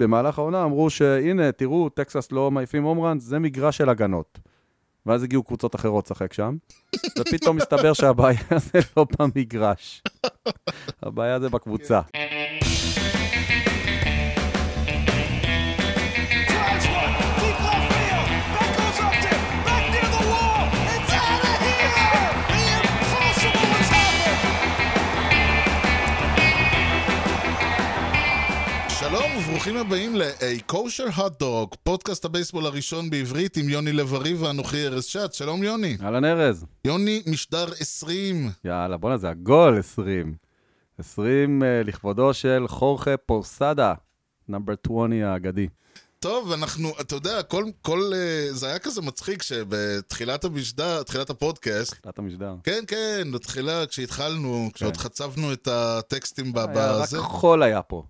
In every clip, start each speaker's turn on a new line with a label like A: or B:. A: במהלך העונה אמרו שהנה, תראו, טקסס לא מעיפים הום ראנס, זה מגרש של הגנות. ואז הגיעו קבוצות אחרות לשחק שם, ופתאום מסתבר שהבעיה זה לא במגרש. הבעיה זה בקבוצה.
B: Drives one. Deep left field. That goes up there. Back near the wall. It's out of here. The impossible has happened.
C: שלום וברוכים הבאים ל-A kosher hot dog, פודקאסט הבייסבול הראשון בעברית עם יוני לב-ארי ואנוכי ארז שץ. שלום יוני.
A: אהלן ארז,
C: יוני, משדר 20.
A: יאללה, בואנה, זה הגול 20. 20 אה, לכבודו של חורכה פורסדה, נאמבר 20 האגדי.
C: טוב, אנחנו, אתה יודע, כל, כל, אה, זה היה כזה מצחיק שבתחילת המשדר, תחילת הפודקאסט,
A: תחילת המשדר.
C: כן, כן, בתחילה, כשהתחלנו, כשעוד
A: כן.
C: חצבנו את הטקסטים ב-
A: היה רק
C: בזה,
A: חול היה פה.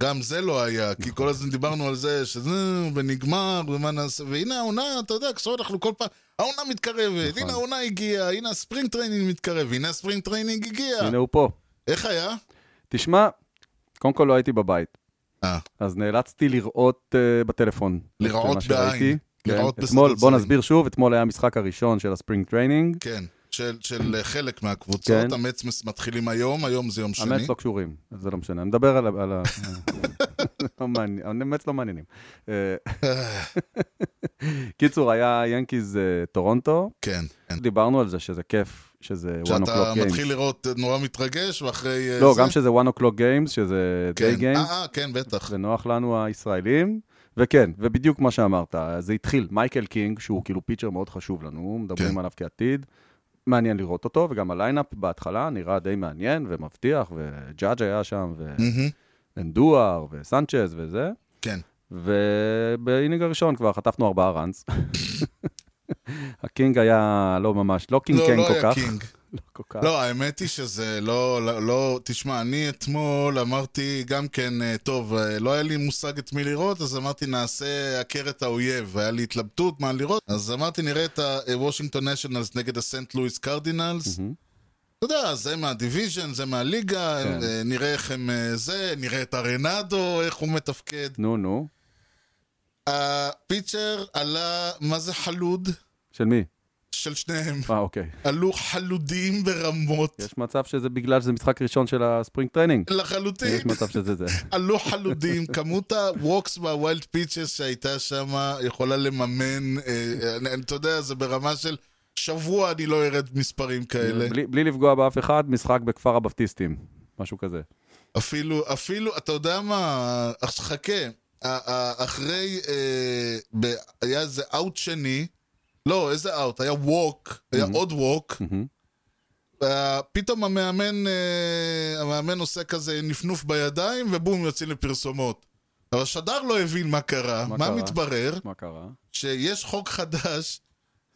C: גם זה לא היה,
A: נכון.
C: כי כל הזמן דיברנו על זה, שזה ונגמר, ומה נעשה, והנה העונה, אתה יודע, עכשיו אנחנו כל פעם, העונה מתקרבת,
A: נכון.
C: הנה העונה הגיעה, הנה הספרינג טריינינג מתקרב, הנה הספרינג טריינינג הגיע.
A: הנה הוא פה.
C: איך היה?
A: תשמע, קודם כל לא הייתי בבית.
C: אה,
A: אז נאלצתי לראות uh, בטלפון.
C: לראות
A: את מה שראיתי.
C: בעין,
A: כן.
C: לראות בשדות
A: אתמול, בוא
C: זרים.
A: נסביר שוב, אתמול היה המשחק הראשון של הספרינג טריינינג.
C: כן. של, של אה, חלק מהקבוצות,
A: כן.
C: המצמס מתחילים היום, היום זה יום שני.
A: המץ לא קשורים, אז זה לא משנה, אני מדבר על ה... על ה- לא מעניין, המץ לא מעניינים. אה, קיצור, היה ינקיז אה, טורונטו,
C: כן, כן.
A: דיברנו על זה שזה כיף, שזה one
C: שאתה
A: o'clock games.
C: מתחיל לראות אה, נורא מתרגש, ואחרי... אה,
A: לא,
C: זה-
A: גם שזה one o'clock games, שזה
C: כן.
A: day games,
C: אה, אה, כן, בטח.
A: ונוח לנו הישראלים. וכן, ובדיוק מה שאמרת, זה התחיל, מייקל קינג, שהוא כאילו פיצ'ר מאוד חשוב לנו, מדברים
C: כן.
A: עליו כעתיד, מעניין לראות אותו, וגם הליינאפ בהתחלה נראה די מעניין ומבטיח, וג'אג' היה שם,
C: מהמם,
A: ואנדואר, וסנצ'ז וזה,
C: כן.
A: ובאינינג הראשון כבר חטפנו ארבעה ראנס. הקינג היה לא ממש, לא קינג
C: לא,
A: קינג
C: לא
A: כל
C: היה
A: כך.
C: קינג.
A: לא כל כך.
C: לא, האמת היא שזה לא, לא- לא, תשמע, אני אתמול אמרתי גם כן, אה, טוב, אה, לא היה לי מושג את מי לראות, אז אמרתי נעשה עקר את האויב, היה לי התלבטות מה לראות, אז אמרתי נראה את הוושינגטון נשנלס נגד הסנט לואיס קרדינלס.
A: מהמם.
C: אתה יודע, זה מהדיוויז'ן, זה מהליגה,
A: כן.
C: אה, נראה איך הם אה, זה, נראה את הרנדו, איך הוא מתפקד.
A: נו, נו.
C: הפיצ'ר עלה, מה זה חלוד?
A: של מי?
C: של שניהם.
A: אה, אוקיי.
C: עלו חלודים ברמות.
A: יש מצב שזה בגלל שזה משחק ראשון של הספרינג טריינינג.
C: לחלוטין.
A: יש מצב שזה זה.
C: עלו חלודים, כמות הווקס והווילד פיצ'ס שהייתה שם יכולה לממן, אה, אה, אתה יודע, זה ברמה של שבוע אני לא ארד מספרים כאלה.
A: בלי- בלי לפגוע באף אחד, משחק בכפר הבפטיסטים. משהו כזה.
C: אפילו, אפילו, אתה יודע מה, אך חכה, ה- ה- אחרי, אה, ב- היה איזה אאוט שני, לא, איזה אאוט, היה ווק, היה
A: Mm-hmm.
C: עוד ווק,
A: מהמם. Mm-hmm.
C: וה- פתאום המאמן, אה, המאמן עושה כזה נפנוף בידיים, ובום, יוצאים לפרסומות. אבל שדר לא הבין מה קרה,
A: מה
C: מה
A: קרה?
C: מתברר?
A: מה קרה?
C: שיש חוק חדש,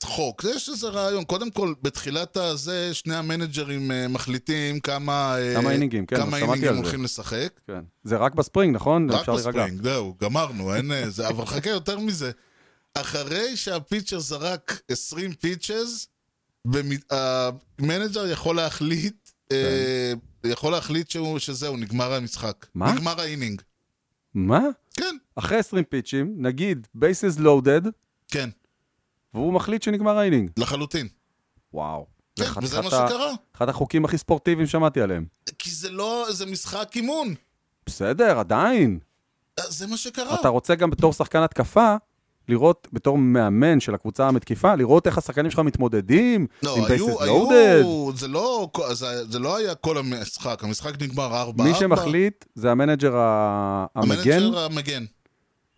C: חוק, יש איזה רעיון. קודם כל, בתחילת הזה, שני המנג'רים אה, מחליטים כמה... אה,
A: כמה אינינגים, כן,
C: כמה
A: שמעתי
C: אינינגים
A: על זה.
C: הולכים לשחק.
A: כן. זה רק בספרינג, נכון?
C: רק
A: אפשר להירגע.
C: בספרינג, זהו, גמרנו, אין אה, זה, אבל חכה יותר מזה. אחרי שהפיצ'ר זרק 20 פיצ'ז, במ- המנג'ר יכול להחליט, אה, יכול להחליט שהוא, שזהו, נגמר המשחק.
A: כן. מה?
C: נגמר האינינג.
A: מה?
C: כן,
A: אחרי 20 פיצ'ים, נגיד בייסס לואודד,
C: כן,
A: והוא מחליט שנגמר האינינג.
C: לחלוטין.
A: וואו.
C: כן,
A: אחד-
C: וזה
A: אחד
C: מה
A: ה-
C: שקרה.
A: אחד החוקים הכי ספורטיביים שמעתי עליהם.
C: כי זה לא, זה משחק אימון.
A: בסדר, עדיין.
C: אה, זה מה שקרה.
A: אתה רוצה גם בתור שחקן התקפה, לראות, בתור מאמן של הקבוצה המתקיפה, לראות איך השחקנים שלך מתמודדים
C: לא,
A: עם
C: היו,
A: בייסס לואודד.
C: היו, זה לא, זה, זה לא היה כל המשחק, המשחק נגמר 4
A: מי שמחליט זה המנג'ר ה- המגן,
C: המנג'ר כן. המגן,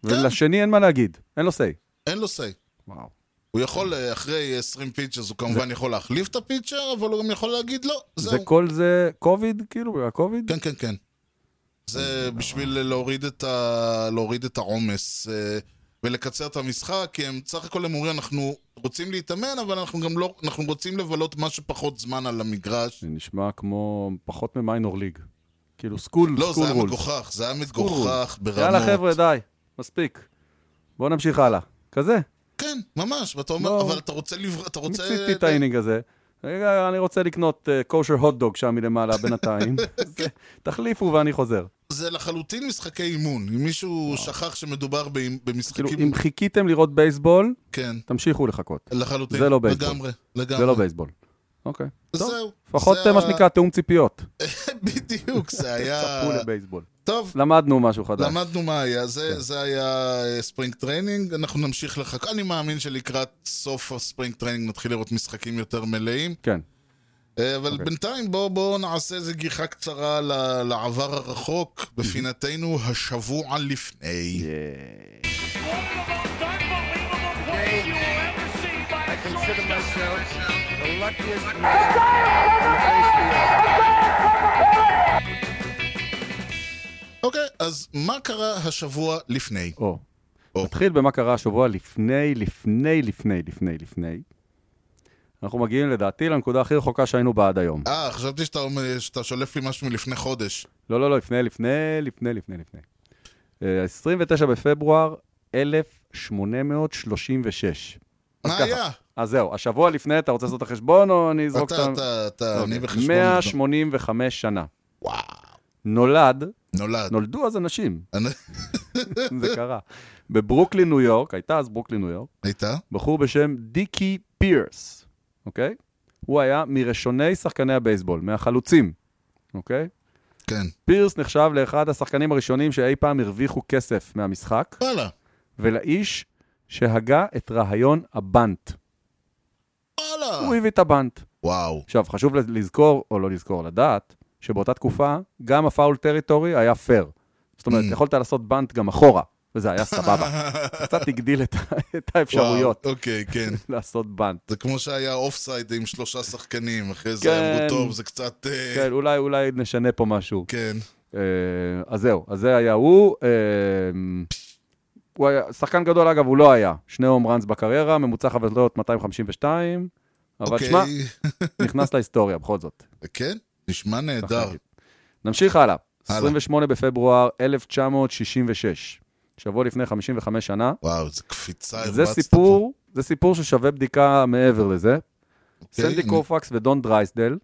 A: ולשני אין מה להגיד, אין לו say.
C: אין לו say.
A: וואו.
C: הוא יכול, אה, אחרי 20 פיצ'רס, הוא כמובן יכול להחליף את הפיצ'ר, אבל הוא גם יכול להגיד לא,
A: זה
C: זהו.
A: כל זה קוביד, כאילו, הקוביד?
C: כן, כן, כן. זה בשביל להוריד את, ה... להוריד את העומס אה, ולקצר את המשחק, כי הם סך הכל הם אומרים, אנחנו רוצים להתאמן, אבל אנחנו גם לא, אנחנו רוצים לבלות מה שפחות זמן על המגרש.
A: זה נשמע כמו פחות ממיינור ליג. כאילו, סקול,
C: לא, זה
A: סקול
C: היה
A: רול.
C: מגוחך, זה היה
A: סקול רול.
C: מגוחך ברמות.
A: יאללה, חבר'ה, די, מספיק. בואו נמשיך הלאה. כזה,
C: כן, ממש, ואתה אומר,
A: לא.
C: אבל אתה רוצה לבר... אתה רוצה...
A: מיציתי את האינינג הזה. רגע, אני רוצה לקנות אה, כושר הוטדוג שם מלמעלה בינתיים. זה- תחליפו ואני חוזר.
C: זה לחלוטין משחקי אימון. אם מישהו שכח שמדובר באימ-
A: לא. כאילו,
C: במשחקים...
A: אם חיכיתם לראות בייסבול,
C: כן,
A: תמשיכו לחכות.
C: לחלוטין.
A: זה לא בייסבול.
C: לגמרי, לגמרי.
A: זה לא בייסבול. אוקיי. טוב,
C: זהו.
A: לפחות אה,
C: זה
A: מה
C: ה-
A: שנקרא תיאום ציפיות.
C: בדיוק, זה היה...
A: צפו לבייסבול.
C: טוב,
A: למדנו משהו חדש.
C: למדנו מה היה,
A: כן.
C: זה, זה היה אה, ספרינג טריינינג, אנחנו נמשיך לחכות, אני מאמין שלקראת סוף הספרינג טריינינג נתחיל לראות משחקים יותר מלאים,
A: כן.
C: אה, אבל
A: אוקיי.
C: בינתיים בואו בוא נעשה איזה גיחה קצרה ל- לעבר הרחוק,
A: Mm-hmm.
C: בפינתנו השבוע לפני.
D: One of the most unbelievable plays you will ever see by a shortstop.
C: אוקיי, אז מה קרה השבוע לפני?
A: או.
C: או.
A: נתחיל במה קרה השבוע לפני, לפני, לפני, לפני, לפני. אנחנו מגיעים לדעתי לנקודה הכי רחוקה שהיינו בה עד היום.
C: אה, חשבתי שאתה, אומר- שאתה שולף לי משהו מלפני חודש.
A: לא, לא, לא, לפני, לפני, לפני, לפני, לפני. אה, 29 בפברואר 1836. אז
C: מה
A: ככה.
C: היה?
A: אז זהו, השבוע לפני, אתה רוצה לעשות את החשבון או אני
C: אתה,
A: אזרוק את ה...
C: אתה, אתה,
A: אוקיי.
C: אני בחשבון.
A: 185 שנה.
C: וואו,
A: נולד,
C: נולד.
A: נולדו אז אנשים,
C: אני-
A: זה קרה. בברוקלין, ניו יורק, הייתה אז ברוקלין, ניו יורק,
C: הייתה?
A: בחור בשם דיקי פירס, אוקיי? הוא היה מראשוני שחקני הבייסבול, מהחלוצים, אוקיי?
C: כן.
A: פירס נחשב לאחד השחקנים הראשונים שאי פעם הרוויחו כסף מהמשחק,
C: וואלה.
A: ולאיש שהגה את רעיון הבנט. הוא
C: וואלה.
A: הביא את הבנט.
C: וואו.
A: עכשיו, חשוב לז- לזכור, או לא לזכור, לדעת, שבאותה תקופה, גם הפאול טריטורי היה פייר. זאת אומרת,
C: Mm.
A: יכולת לעשות בנט גם אחורה, וזה היה סבבה. קצת הגדיל את ה- את האפשרויות
C: וואו, אוקיי, כן.
A: לעשות בנט.
C: זה כמו שהיה אוף סייד עם שלושה שחקנים, אחרי זה
A: כן.
C: אמרו, טוב, זה קצת... אה,
A: כן, אולי, אולי נשנה פה משהו.
C: כן.
A: אה, אז זהו, אז זה היה הוא. אה, הוא היה, שחקן גדול, אגב, הוא לא היה. שני הום ראנס בקריירה, ממוצע חבלות 252, אבל
C: אוקיי.
A: תשמע, נכנס להיסטוריה בכל זאת.
C: כן, נשמע
A: צריך
C: נהדר.
A: להגיד. נמשיך הלאה.
C: הלאה.
A: 28 בפברואר 1966, שבוע לפני 55 שנה.
C: וואו, זו קפיצה.
A: זה
C: הרבצת
A: סיפור, זה סיפור ששווה בדיקה מעבר לזה.
C: פה. אוקיי,
A: סנדי
C: אני-
A: קורפקס ודון דרייסדל,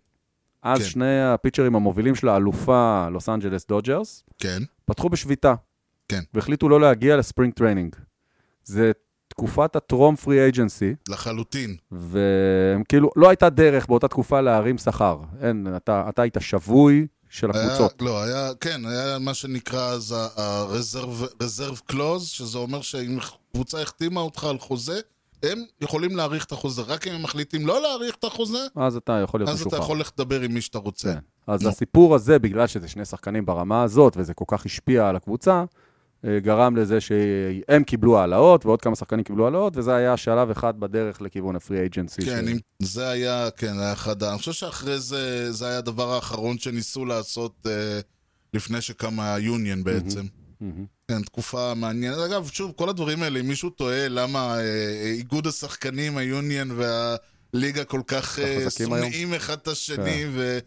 A: אז
C: כן.
A: שני הפיצ'רים המובילים של האלופה לוס אנג'לס דודג'רס,
C: כן,
A: פתחו בשביתה.
C: כן.
A: והחליטו לא להגיע לספרינג טריינינג. זה תקופת הטרום פרי אייג'נסי,
C: לחלוטין.
A: והם כאילו, לא הייתה דרך באותה תקופה להרים שכר. אין, אתה, אתה היית שבוי של
C: היה-
A: הקבוצות.
C: לא, היה, כן, היה מה שנקרא אז ה-reserve clause, שזה אומר שאם קבוצה החתימה אותך על חוזה, הם יכולים להאריך את החוזה. רק אם הם מחליטים לא להאריך את החוזה,
A: אז אתה יכול להיות
C: אז אתה
A: משוחרר.
C: יכול לא. ללכת לדבר עם מי שאתה רוצה.
A: כן. אז
C: נו.
A: הסיפור הזה, בגלל שזה שני שחקנים ברמה הזאת, וזה כל כך השפיע על הקבוצה, אה, גרם לזה שהם קיבלו העלאות, ועוד כמה שחקנים קיבלו העלאות, וזה היה שלב אחד בדרך לכיוון הפרי אייג'נסי.
C: כן, אם... זה היה, כן, היה אחד ה... אני חושב שאחרי זה, זה היה הדבר האחרון שניסו לעשות אה, לפני שקם היוניון בעצם. כן, תקופה מעניינת. אגב, שוב, כל הדברים האלה, אם מישהו תוהה למה אה, איגוד השחקנים, היוניון והליגה כל כך אה,
A: חזקים
C: שונאים אחד את השני,
A: כן.
C: ו...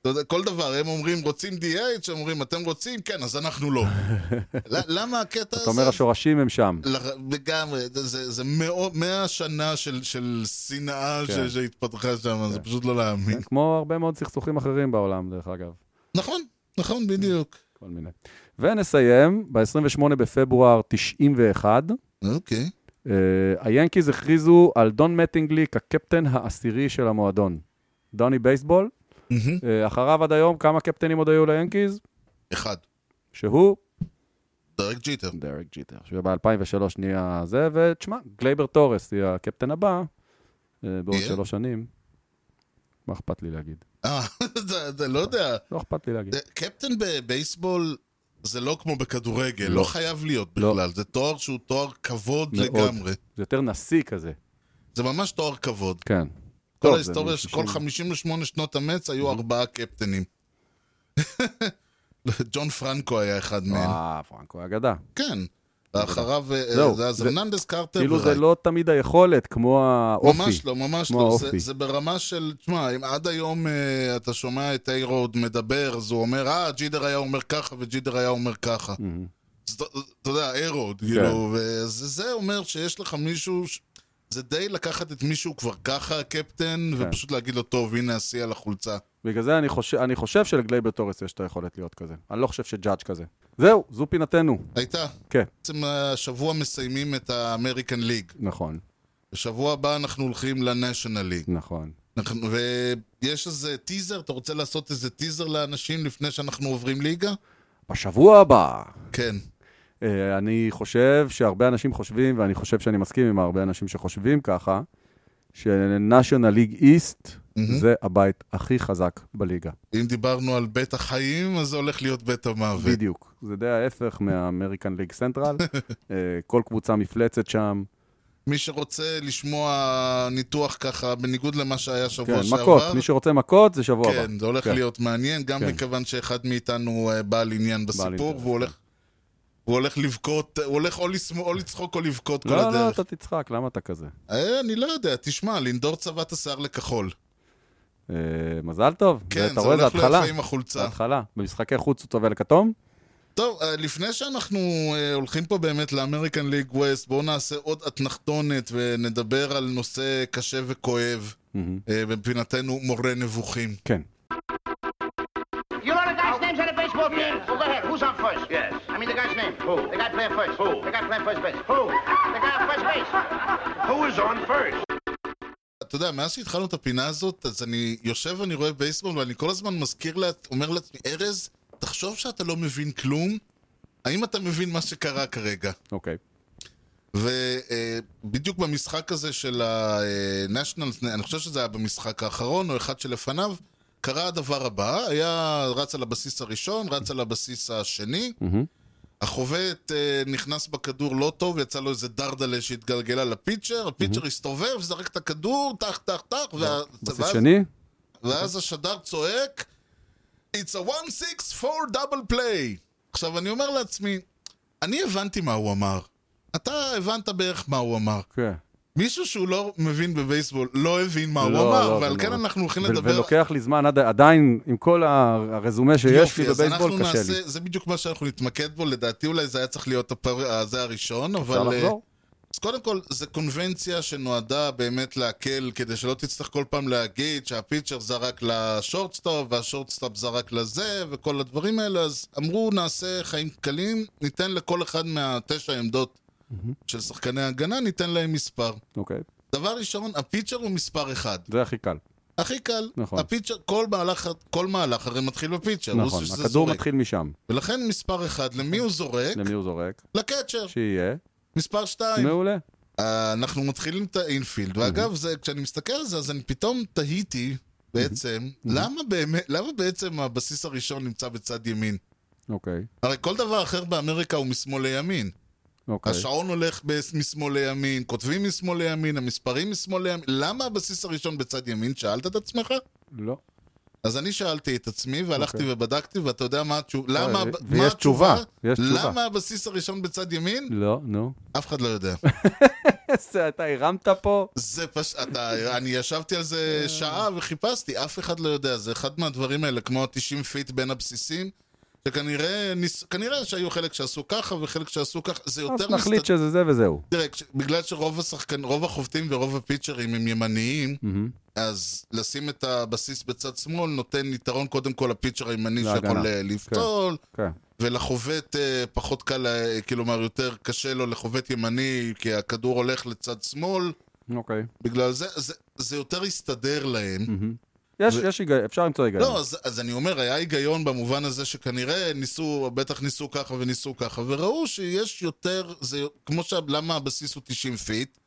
C: אתה יודע, כל דבר, הם אומרים, רוצים DH, הם אומרים, אתם רוצים? כן, אז אנחנו לא. ל- למה הקטע הזה?
A: אתה אומר, השורשים הם שם.
C: לח- לגמרי, זה, זה מאות, מאה שנה של, של שנאה
A: כן.
C: ש- שהתפתחה שם, זה פשוט לא להאמין.
A: כמו הרבה מאוד סכסוכים אחרים בעולם, דרך אגב.
C: נכון, נכון, בדיוק.
A: כל מיני. ונסיים ב-28 בפברואר 91.
C: אוקיי.
A: אה, היאנקיז הכריזו על דון מטינגלי כקפטן העשירי של המועדון. דוני בייסבול.
C: מהמם.
A: אה, אחריו עד היום, כמה קפטנים עוד היו ליאנקיז?
C: אחד,
A: שהוא
C: דרק ג'יטר.
A: דרק ג'יטר, שב-2003 נהיה זה, ותשמע, גלייבר תורס יהיה הקפטן הבא אה, בעוד
C: יהיה?
A: שלוש שנים. מה אכפת לי להגיד?
C: אה, זה- זה לא יודע.
A: לא אכפת לי להגיד.
C: זה- קפטן בבייסבול זה לא כמו בכדורגל,
A: לא.
C: לא חייב להיות
A: לא.
C: בכלל. זה תואר שהוא תואר כבוד
A: מאוד.
C: לגמרי.
A: זה יותר נשיא כזה.
C: זה ממש תואר כבוד.
A: כן.
C: כל
A: טוב,
C: ההיסטוריה,
A: זה מ-
C: כל 58 שנות המץ
A: Mhm.
C: היו ארבעה קפטנים. ג'ון פרנקו היה אחד מהם.
A: אה, פרנקו אגדה.
C: כן. אחריו, אה,
A: זהו,
C: זה אז
A: זה-
C: הרננדס קרטר
A: כאילו זה
C: ורייט.
A: לא תמיד היכולת, כמו האופי.
C: ממש לא, ממש
A: כמו
C: לא. זה,
A: האופי.
C: זה ברמה של, תשמע, אם עד היום אה, אתה שומע את איירוד מדבר, אז הוא אומר, אה, ג'ידר היה אומר ככה וג'ידר היה אומר ככה.
A: מהמם. כן.
C: אז אתה אתה יודע, איירוד, כאילו, וזה זה אומר שיש לך מישהו, ש- זה די לקחת את מישהו כבר ככה, הקפטן,
A: כן.
C: ופשוט להגיד לו, טוב, הנה השיא על החולצה.
A: בגלל זה אני חושב, אני חושב שלגלייבר תורס יש את היכולת להיות כזה. אני לא חושב שג'אדג' כזה. זהו, זו פינתנו.
C: הייתה.
A: כן,
C: בעצם השבוע מסיימים את האמריקן ליג.
A: נכון,
C: בשבוע הבא אנחנו הולכים לנשיונל ליג.
A: נכון.
C: אנחנו- ויש איזה טיזר, אתה רוצה לעשות איזה טיזר לאנשים לפני שאנחנו עוברים ליגה?
A: בשבוע הבא.
C: כן.
A: אה, אני חושב שהרבה אנשים חושבים, ואני חושב שאני מסכים עם הרבה אנשים שחושבים ככה, ש-National League East
C: מהמם.
A: זה הבית הכי חזק בליגה.
C: אם דיברנו על בית החיים, אז זה הולך להיות בית המוות.
A: בדיוק. זה די ההפך מהאמריקן ליג סנטרל. אה, כל קבוצה מפלצת שם.
C: מי שרוצה לשמוע ניתוח ככה, בניגוד למה שהיה שבוע
A: כן,
C: שעבר,
A: מכות. מי שרוצה מכות, זה שבוע הבא.
C: כן, זה הולך
A: כן.
C: להיות מעניין, גם
A: כן.
C: מכיוון שאחד מאיתנו אה, בעל עניין בסיפור,
A: אינטרס,
C: והוא הולך... הוא הולך לבכות, אה, הוא הולך או, לשמ... או לצחוק או לבכות כל
A: כן. לא, לא,
C: הדרך.
A: אתה תצחק, למה אתה כזה?
C: אה, אני לא יודע, תשמע, לינדור צבע את השיער לכחול.
A: אה, מזל טוב.
C: כן,
A: אתה
C: זה
A: רואה,
C: הולך לו
A: התחלה.
C: יפה עם החולצה.
A: זה התחלה. במשחקי חוץ הוא צובל כתום?
C: טוב, אה, לפני שאנחנו אה, הולכים פה באמת לאמריקן ליג ווסט, בואו נעשה עוד אתנחתונת ונדבר על נושא קשה וכואב,
A: מהמם.
C: אה, מבחינתנו מורה נבוכים.
A: כן.
E: You know the guy's names on the baseball team? Well, go ahead. Who's on first? Yes. I mean the guy's name. Who? The guy playing first. Who? The guy playing first base. Who? The guy on first base.
F: Who is on first?
C: אתה יודע, מאז שהתחלנו את הפינה הזאת, אז אני יושב ואני רואה בייסבול, ואני כל הזמן מזכיר, לה, אומר לעצמי, ארז, תחשוב שאתה לא מבין כלום, האם אתה מבין מה שקרה כרגע?
A: אוקיי.
C: ובדיוק במשחק הזה של ה-Nationals, אני חושב שזה היה במשחק האחרון או אחד שלפניו, קרה הדבר הבא, היה רץ על הבסיס הראשון, רץ על הבסיס השני,
A: מהמם.
C: החובט אה, נכנס בכדור לא טוב, יצא לו איזה דרדלה שהתגלגלה לפיצ'ר, הפיצ'ר הסתובב, זרק את הכדור, טח, טח, טח, וה-
A: בסיס
C: ואז-
A: שני?
C: ואז השדר צועק, It's a 1-6-4 double play. עכשיו, אני אומר לעצמי, אני הבנתי מה הוא אמר. אתה הבנת בערך מה הוא אמר.
A: כן.
C: מישהו שהוא לא מבין בבייסבול לא הבין מה הוא
A: לא,
C: אמר,
A: לא,
C: ועל
A: לא.
C: כן אנחנו הולכים
A: ו-
C: לדבר...
A: ולוקח לי זמן, עד- עדיין, עם כל ה- הרזומה שיש לי
C: יופי, אז
A: בבייסבול,
C: אנחנו
A: קשה לי.
C: נעשה- זה בדיוק מה שאנחנו נתמקד בו, לדעתי אולי זה היה צריך להיות הפר... אה, זה הראשון, אבל...
A: אפשר
C: אה,
A: לחזור?
C: אז קודם כל, זו קונבנציה שנועדה באמת להקל, כדי שלא תצטרך כל פעם להגיד שהפיצ'ר זרק לשורטסטופ, והשורטסטופ זרק לזה, וכל הדברים האלה, אז אמרו, נעשה חיים קלים, ניתן לכל אחד מהתשע עמדות של שחקני הגנה, ניתן להם מספר.
A: אוקיי.
C: דבר ראשון, הפיצ'ר הוא מספר אחד.
A: זה הכי קל.
C: הכי קל.
A: נכון.
C: הפיצ'ר, כל מהלך, כל מהלך הרי מתחיל בפיצ'ר. כן, הוא
A: נכון,
C: זה שזה
A: הכדור
C: זורק.
A: מתחיל משם.
C: ולכן מספר אחד, למי הוא זורק?
A: למי הוא זורק?
C: לקצ'ר.
A: שיהיה.
C: מספר שתיים.
A: מעולה.
C: אה, אנחנו מתחילים את האינפילד, ואגב, זה, כשאני מסתכל על זה, אז אני פתאום תהיתי בעצם, למה באמת, למה בעצם הבסיס הראשון נמצא בצד ימין?
A: אוקיי.
C: הרי כל דבר אחר באמריקה הוא משמאל לימין.
A: אוקיי.
C: השעון הולך בס- משמאל לימין, כותבים משמאל לימין, המספרים משמאל לימין. למה הבסיס הראשון בצד ימין? שאלת את עצמך?
A: לא.
C: אז אני שאלתי את עצמי, והלכתי
A: אוקיי.
C: ובדקתי, ואתה יודע מה התשובה? למה...
A: ו-
C: מה
A: ויש תשובה, יש תשובה.
C: למה הבסיס הראשון בצד ימין?
A: לא, נו.
C: אף אחד לא יודע.
A: איזה, אתה הרמת פה?
C: זה פש... אתה... אני ישבתי על זה שעה וחיפשתי, אף אחד לא יודע. זה אחד מהדברים האלה, כמו ה-90 פיט בין הבסיסים, שכנראה ניס... כנראה שהיו חלק שעשו ככה וחלק שעשו ככה. זה
A: אז
C: יותר
A: נחליט שזה זה וזהו.
C: תראה, כש- בגלל שרוב השחקן... רוב החובטים ורוב הפיצ'רים הם ימניים,
A: מהמם.
C: אז לשים את הבסיס בצד שמאל נותן יתרון קודם כל לפיצ'ר הימני
A: להגנה.
C: שיכול אה, לפתול.
A: כן.
C: ולחובט אה, פחות קל, אה, כלומר יותר קשה לו לחובט ימני, כי הכדור הולך לצד שמאל,
A: אוקיי.
C: בגלל זה, זה, זה יותר הסתדר להם.
A: מהמם. יש, יש היגיון, אפשר למצוא היגיון.
C: לא, אז, אז אני אומר, היה היגיון במובן הזה שכנראה ניסו, בטח ניסו ככה וניסו ככה, וראו שיש יותר, זה כמו ש... למה הבסיס הוא 90 פיט?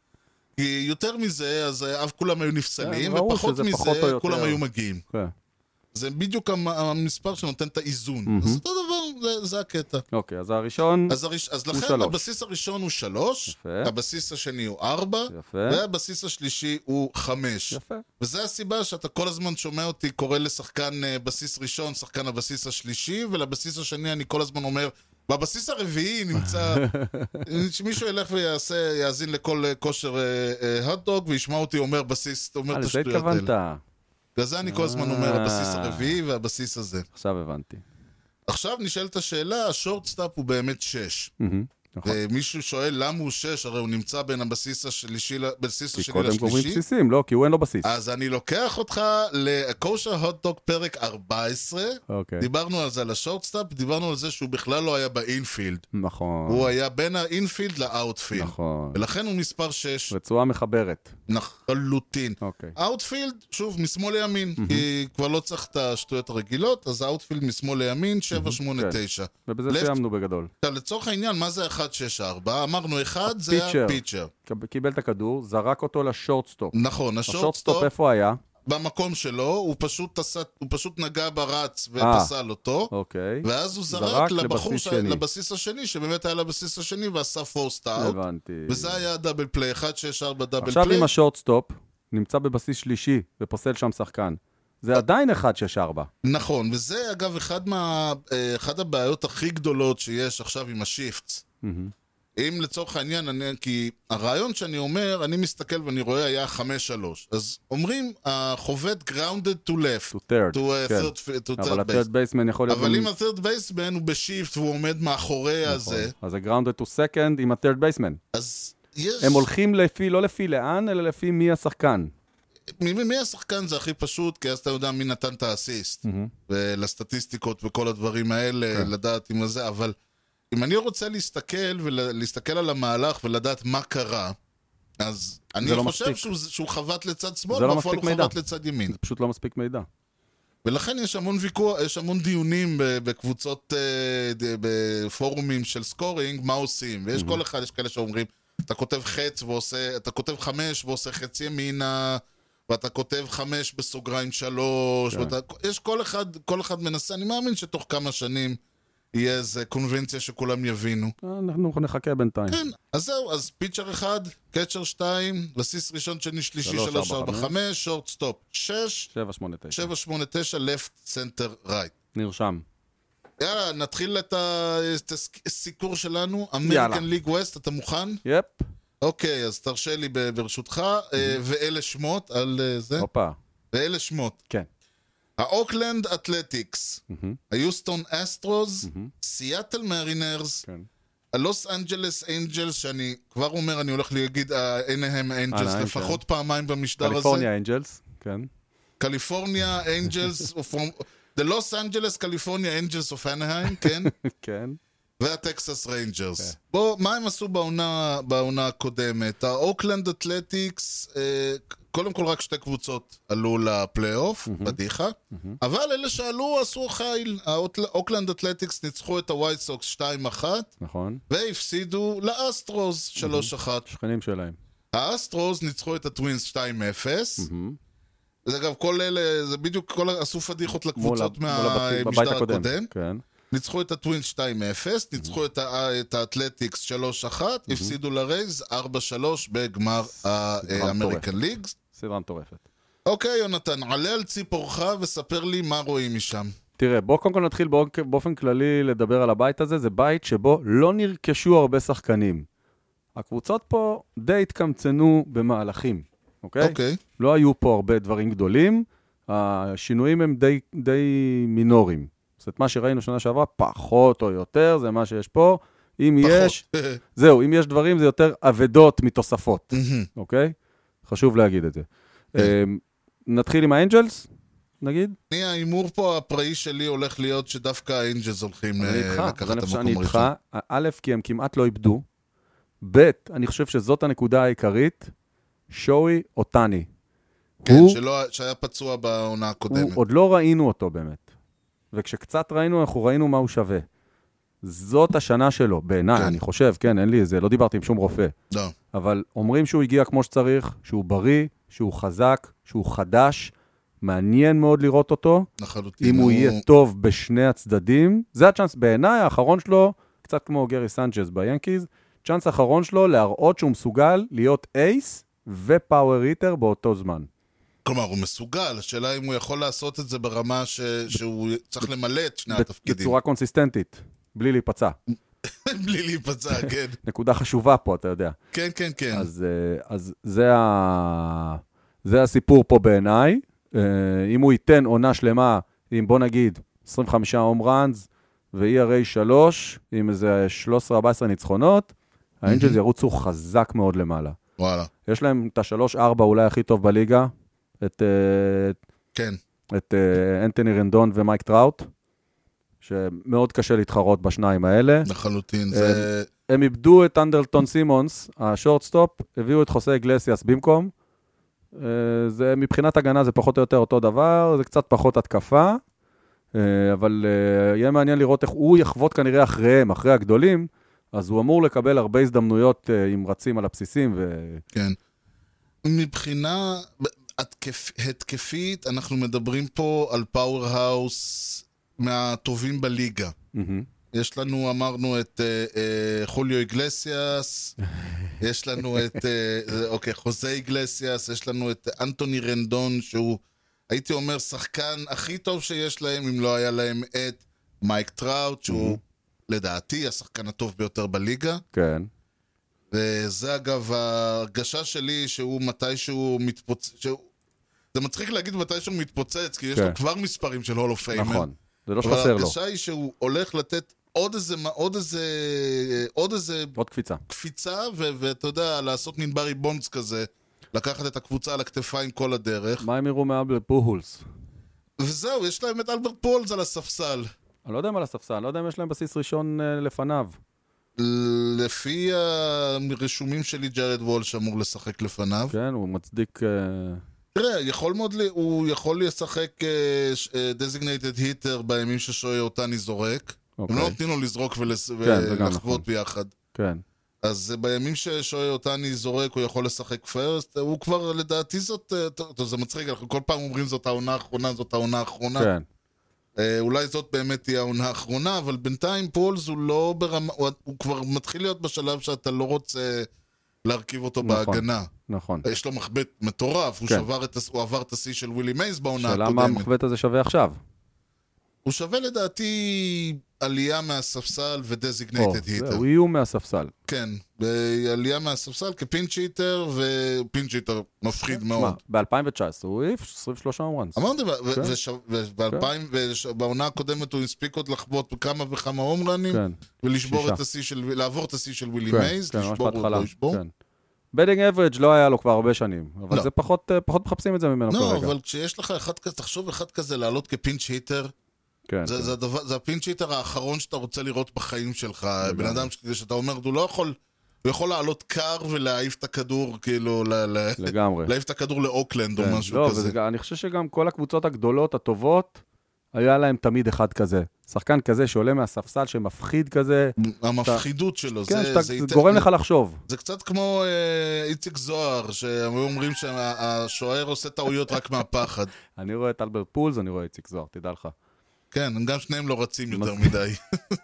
C: כי יותר מזה, אז אה, אף כולם היו נפסלים,
A: כן, ראו
C: ופחות
A: שזה פחות או
C: מזה,
A: יותר.
C: כולם היו מגיעים.
A: כן.
C: זה בדיוק המ- המספר שנותן את האיזון. אז אותו דבר, זה, זה הקטע.
A: אוקיי, אז הראשון,
C: אז, הראש... אז לכן
A: שלוש.
C: הבסיס הראשון הוא 3,
A: יפה.
C: הבסיס השני הוא 4,
A: יפה.
C: והבסיס השלישי הוא 5.
A: יפה.
C: וזה הסיבה שאתה כל הזמן שומע אותי קורא לשחקן אה, בסיס ראשון, שחקן הבסיס השלישי, ולבסיס השני אני כל הזמן אומר, בבסיס הרביעי נמצא... שמישהו ילך ויעשה, יאזין לכל אה, כושר אה, אה, הוטדוג וישמע אותי אומר בסיס, אומר
A: אה,
C: את
A: לזה
C: השטויות האלה.
A: התכוונת.
C: בגלל זה אני כל הזמן אומר
A: אה.
C: הבסיס הרביעי והבסיס הזה.
A: עכשיו הבנתי.
C: עכשיו נשאלת השאלה, השורטסטאפ הוא באמת 6.
A: מהמם. נכון.
C: מישהו שואל למה הוא שש, הרי הוא נמצא בין הבסיס השלישי, ל- בסיס
A: כי
C: השני
A: קודם גומרים
C: לשלישי.
A: בסיסים, לא, כי הוא אין לו בסיס.
C: אז אני לוקח אותך לקושר הוטדוק פרק 14.
A: אוקיי.
C: דיברנו על זה, על השורטסטאפ, דיברנו על זה שהוא בכלל לא היה באינפילד.
A: נכון.
C: הוא היה בין האינפילד לאאוטפילד.
A: נכון.
C: ולכן הוא מספר 6,
A: רצועה מחברת.
C: לחלוטין.
A: אוקיי.
C: אאוטפילד, שוב, משמאל לימין, כי כבר לא צריך את השטויות הרגילות, אז אאוטפילד משמאל לימין, 7, 8,
A: כן.
C: 9.
A: ובזה
C: left-
A: סיימנו בגדול.
C: עכשיו, לצורך העניין, מה זה 1, 6, 4? אמרנו 1 זה
A: הפיצ'ר.
C: הפיצ'ר.
A: קב- קיבל את הכדור, זרק אותו לשורטסטופ.
C: נכון,
A: השורטסטופ
C: השורטסטופ
A: איפה היה?
C: במקום שלו, הוא פשוט עשה- הוא פשוט נגע ברץ ופסל אותו.
A: אה. אוקיי.
C: ואז הוא
A: זרק
C: זרק לבחור,
A: לבסיס
C: ש...
A: שני.
C: לבסיס השני, שבאמת היה לבסיס השני ועשה פורסט אאוט.
A: הבנתי.
C: וזה היה דאבל פליי, 1, 6, 4 דאבל
A: עכשיו
C: פליי.
A: עם השורטסטופ, נמצא בבסיס שלישי ופוסל שם שחקן.
C: אה.
A: זה עדיין 1-6-4.
C: נכון, וזה אגב אחד מה... אה, אחת הבעיות הכי גדולות שיש עכשיו עם השיפטס. אם לצורך העניין, אני, כי הרעיון שאני אומר, אני מסתכל ואני רואה היה 5-3. אז אומרים, החובט grounded to
A: To
C: left.
A: third,
C: to, uh,
A: כן.
C: third, to
A: אבל
C: third
A: ה-third
C: base.
A: בייסמן יכול להיות...
C: אבל
A: גם-
C: אם ה-third baseman הוא בשיפט והוא עומד מאחורי
A: נכון.
C: הזה,
A: אז זה grounded to second עם ה-third בייסמן.
C: אז יש...
A: הם הולכים לפי, לא לפי לאן, אלא לפי מי השחקן.
C: מי, מי- מי השחקן זה הכי פשוט, כי אז אתה יודע מי נתן את
A: Mm.
C: האסיסט. ולסטטיסטיקות וכל הדברים האלה, כן. לדעת אם זה, אבל אם אני רוצה להסתכל ולהסתכל על המהלך ולדעת מה קרה, אז אני
A: לא
C: חושב
A: מספיק.
C: שהוא, שהוא חבט לצד שמאל,
A: זה לא
C: בפועל
A: מספיק
C: הוא
A: מידע.
C: חבט לצד ימין.
A: זה פשוט לא מספיק מידע.
C: ולכן יש המון ויכוח, יש המון דיונים ב- בקבוצות, אה, ד- בפורומים של סקורינג, מה עושים.
A: Mhm.
C: ויש כל אחד, יש כאלה שאומרים, אתה כותב חץ ועושה, אתה כותב חמש ועושה חץ ימינה, ואתה כותב חמש בסוגריים
A: כן.
C: שלוש, ואתה, יש כל אחד, כל אחד מנסה, אני מאמין שתוך כמה שנים יהיה איזה קונבנציה שכולם יבינו.
A: אנחנו נחכה בינתיים.
C: כן, אז זהו, אז פיצ'ר אחד, קצ'ר שתיים, בסיס ראשון, שני, שלישי,
A: שלוש,
C: שלוש,
A: ארבע,
C: ארבע,
A: חמש.
C: חמש, שורט סטופ, שש,
A: 7-8-9.
C: 789, left, center, right.
A: נרשם.
C: יאללה, נתחיל את הסיקור שלנו,
A: יאללה.
C: אמריקן ליג ווסט, אתה מוכן?
A: יפ.
C: אוקיי, אז תרשה לי ב- ברשותך, אה, ואלה שמות על אה, זה,
A: הופה.
C: ואלה שמות.
A: כן.
C: האוקלנד אתלטיקס, היוסטון אסטרוז, סיאטל מרינרס,
A: כן.
C: הלוס אנג'לס אינג'לס, שאני כבר אומר, אני הולך להגיד אה, עיניהם אינג'לס
A: עיניים,
C: לפחות פעמיים במשדר
A: כן.
C: הזה.
A: קליפורניה אנג'לס. כן.
C: קליפורניה אינג'לס, The Los Angeles, California Angels of Anaheim, כן?
A: כן.
C: והטקסס ריינג'רס. בוא, מה הם עשו בעונה, בעונה הקודמת? האוקלנד אתלטיקס, אה, קודם כל רק שתי קבוצות עלו לפלייאוף, פדיחה, אבל אלה שעלו עשו חיל. האוקלנד אתלטיקס ניצחו את הווייט סוקס 2-1,
A: נכון.
C: והפסידו לאסטרוס 3-1.
A: שכנים שלהם.
C: האסטרוס ניצחו את הטווינס 2-0. זה אגב, כל אלה, זה בדיוק, כל, ה- עשו פדיחות
A: מול ה-
C: לקבוצות
A: מול הבתים- בבית
C: מהמשטר
A: הקודם.
C: הקודם.
A: כן.
C: ניצחו את הטווינס 2-0, ניצחו את, ה- את האתלטיקס 3-1, הפסידו לרייז 4-3 בגמר האמריקן ליג.
A: סדרה מטורפת.
C: אוקיי, יונתן, עלה על ציפורך וספר לי מה רואים משם.
A: תראה, בוא קודם כל נתחיל באופ- באופן כללי לדבר על הבית הזה. זה בית שבו לא נרכשו הרבה שחקנים. הקבוצות פה די התקמצנו במהלכים, אוקיי?
C: אוקיי,
A: לא היו פה הרבה דברים גדולים, השינויים הם די, די מינוריים. זאת אומרת, מה שראינו שנה שעברה, פחות או יותר, זה מה שיש פה. אם
C: פחות.
A: יש, זהו, אם יש דברים, זה יותר אבדות מתוספות,
C: מהמם.
A: אוקיי? חשוב להגיד את זה.
C: אה.
A: אמ, נתחיל עם האנג'לס, נגיד?
C: אני, ההימור פה הפראי שלי הולך להיות שדווקא האנג'לס הולכים
A: אז
C: אה,
A: אני איתך,
C: לקחת
A: אז
C: את
A: אני חושב שאני
C: המקום
A: איתך.
C: הראשון.
A: א', כי הם כמעט לא איבדו, ב', אני חושב שזאת הנקודה העיקרית, שואי אותני.
C: כן,
A: הוא-
C: שלא- שהיה פצוע בעונה
A: הוא,
C: הקודמת.
A: עוד לא ראינו אותו באמת. וכשקצת ראינו, אנחנו ראינו מה הוא שווה. זאת השנה שלו, בעיניי,
C: כן.
A: כן. אני חושב, כן, אין לי איזה, לא דיברתי עם שום רופא.
C: לא.
A: אבל אומרים שהוא הגיע כמו שצריך, שהוא בריא, שהוא חזק, שהוא חדש. מעניין מאוד לראות אותו.
C: לחלוטין.
A: אם הוא יהיה טוב בשני הצדדים, זה הצ'אנס בעיניי, האחרון שלו, קצת כמו גרי סנצ'ז ביאנקיז, צ'אנס האחרון שלו להראות שהוא מסוגל להיות אייס ופאוור היטר באותו זמן.
C: כלומר, הוא מסוגל, השאלה אם הוא יכול לעשות את זה ברמה ש- שהוא צריך למלא את שני התפקידים.
A: בצורה קונסיסטנטית, בלי להיפצע.
C: בלי להיפצע, כן.
A: נקודה חשובה פה, אתה יודע.
C: כן, כן, כן.
A: אז, אה, אז זה, ה... זה הסיפור פה בעיניי. אה, אם הוא ייתן עונה שלמה עם, בוא נגיד, 25 הום ראנס והיא הרי שלוש, עם איזה 13-14 ניצחונות, האנג'לס ירוצו חזק מאוד למעלה.
C: וואלה.
A: יש להם את השלוש-ארבע אולי הכי טוב בליגה, את, אה,
C: כן.
A: את אה, אנטוני רנדון ומייק טראוט, שמאוד קשה להתחרות בשניים האלה.
C: לחלוטין. זה...
A: הם איבדו את אנדרלטון סימונס, השורטסטופ, הביאו את חוסה גלסיאס במקום. אה, זה, מבחינת הגנה זה פחות או יותר אותו דבר, זה קצת פחות התקפה, אה, אבל אה, יהיה מעניין לראות איך הוא יחבוט כנראה אחריהם, אחרי הגדולים, אז הוא אמור לקבל הרבה הזדמנויות אה, אם רצים על הבסיסים, ו...
C: כן. מבחינה התקפ... התקפית, אנחנו מדברים פה על פאוור האוס מהטובים בליגה. יש לנו, אמרנו, את אה, אה, חוליו איגלסיאס, יש לנו את, אה, אה, אוקיי, חוזה איגלסיאס, יש לנו את אנטוני רנדון, שהוא, הייתי אומר, שחקן הכי טוב שיש להם, אם לא היה להם את מייק טראוט, שהוא, לדעתי, השחקן הטוב ביותר בליגה.
A: כן.
C: וזה אגב ההרגשה שלי שהוא מתישהו מתפוצץ, שהוא... זה מצחיק להגיד מתישהו מתפוצץ, כי יש
A: כן.
C: לו כבר מספרים של הולו פיימר.
A: נכון, זה לא
C: אבל
A: שחסר לו.
C: ההרגשה היא שהוא הולך לתת עוד איזה, מה- עוד איזה, עוד איזה
A: עוד קפיצה.
C: קפיצה, ו- ואתה יודע, לעשות מין ברי בונדס כזה. לקחת את הקבוצה על הכתפיים כל הדרך.
A: מה הם יראו מאבל פוהולס?
C: וזהו, יש להם את אלברט פולס על הספסל.
A: אני לא יודע אם על הספסל, אני לא יודע אם יש להם בסיס ראשון אה, לפניו.
C: לפי הרישומים שלי, ג'רד וולש אמור לשחק לפניו.
A: כן, הוא מצדיק... אה,
C: תראה, יכול מאוד, ל- הוא יכול לשחק אה, דזיגנייטד היטר בימים ששוי אותני זורק. הם
A: אוקיי.
C: לא נותנים לו לזרוק ולס-
A: זה גם
C: ולחוות
A: נכון.
C: ביחד.
A: כן.
C: אז אה, בימים ששוי אותני זורק, הוא יכול לשחק פרסט. הוא כבר, לדעתי זאת, אה, טוב, טוב, זה מצחיק, אנחנו כל פעם אומרים זאת העונה האחרונה, זאת העונה האחרונה.
A: כן.
C: אה, אולי זאת באמת תהיה העונה האחרונה, אבל בינתיים פולס הוא לא ברמה, הוא, הוא כבר מתחיל להיות בשלב שאתה לא רוצה להרכיב אותו
A: נכון.
C: בהגנה. אה,
A: נכון.
C: יש לו מחבט מטורף, הוא,
A: כן.
C: שבר את, הס- הוא עבר את השיא של ווילי מייז בעונה
A: שאלה מה
C: הקודמת.
A: המחבט הזה שווה עכשיו.
C: הוא שווה לדעתי עלייה מהספסל
A: או,
C: ודזיגנייטד היטר.
A: זהו, איום מהספסל.
C: כן, ב- עלייה מהספסל כפינצ' היטר, ופינצ' היטר
A: כן.
C: מפחיד מאוד.
A: ב-2019 הוא העיף 23 הומרנס.
C: אמרתי,
A: כן.
C: ובעונה הקודמת הוא הספיק עוד לחבוט בכמה וכמה הומרנים,
A: כן.
C: ולשבור
A: שישה.
C: את השיא של, לעבור את השיא של ווילי
A: כן,
C: מייז,
A: כן, ממש
C: לשבור הוא עוד
A: בהתחלה,
C: לא ישבור.
A: כן. בדינג אברג' לא היה לו כבר הרבה שנים, אבל
C: לא.
A: זה פחות אה, פחות מחפשים את זה ממנו
C: לא,
A: כרגע.
C: אבל כשיש לך אחד כזה, תחשוב אחד כזה לעלות כפינצ' היטר,
A: כן,
C: זה,
A: כן.
C: זה, הדבר, זה הפינצ' היטר האחרון שאתה רוצה לראות בחיים שלך. בן אדם ש- שאתה אומר, הוא לא יכול, הוא יכול לעלות קר ולהעיף את הכדור, כאילו, ל, ל,
A: לגמרי.
C: להעיף את הכדור לאוקלנד
A: כן.
C: או משהו
A: לא,
C: כזה.
A: וזה גם- אני חושב שגם כל הקבוצות הגדולות, הטובות, היה להם תמיד אחד כזה. שחקן כזה שעולה מהספסל, שמפחיד כזה.
C: המפחידות שלו,
A: כן,
C: זה,
A: שאתה-
C: זה,
A: זה
C: ייתן-
A: גורם לך לחשוב.
C: זה קצת כמו אה, איציק זוהר, שהיו אומרים שהשוער עושה טעויות רק מהפחד.
A: אני רואה את אלברט פולס, אני רואה את איציק זוהר, תדע לך.
C: כן, הם גם שניהם לא רצים יותר
A: מסכים.
C: מדי.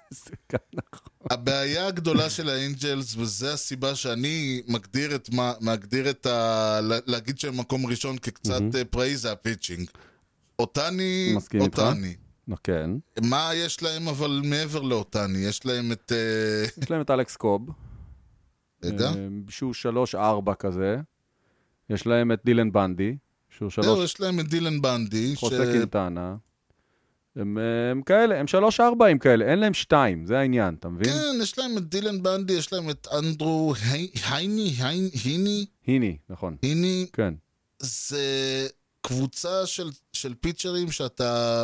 A: זה כאן, נכון.
C: הבעיה הגדולה של האנג'לס, וזו הסיבה שאני מגדיר את מה, מגדיר את ה... לה- להגיד שהם מקום ראשון כקצת אה, פראי זה הפיצ'ינג. אותני,
A: מסכים איתך.
C: אותני.
A: נו, כן.
C: מה יש להם אבל מעבר לאותני? יש להם את... אה,
A: יש להם את אלכס קוב,
C: רגע.
A: אה, שהוא 3-4 כזה. יש להם את דילן בנדי, שהוא 3
C: זהו, יש אה, להם את דילן בנדי, ש...
A: חוסה קינטנה. הם, אה, הם כאלה, הם 3-4 כאלה, אין להם 2, זה העניין, אתה מבין?
C: כן, יש להם את דילן בנדי, יש להם את אנדרו היי- הייני, היי- היני,
A: היני, נכון.
C: היני,
A: כן,
C: זה קבוצה של, של פיצ'רים שאתה...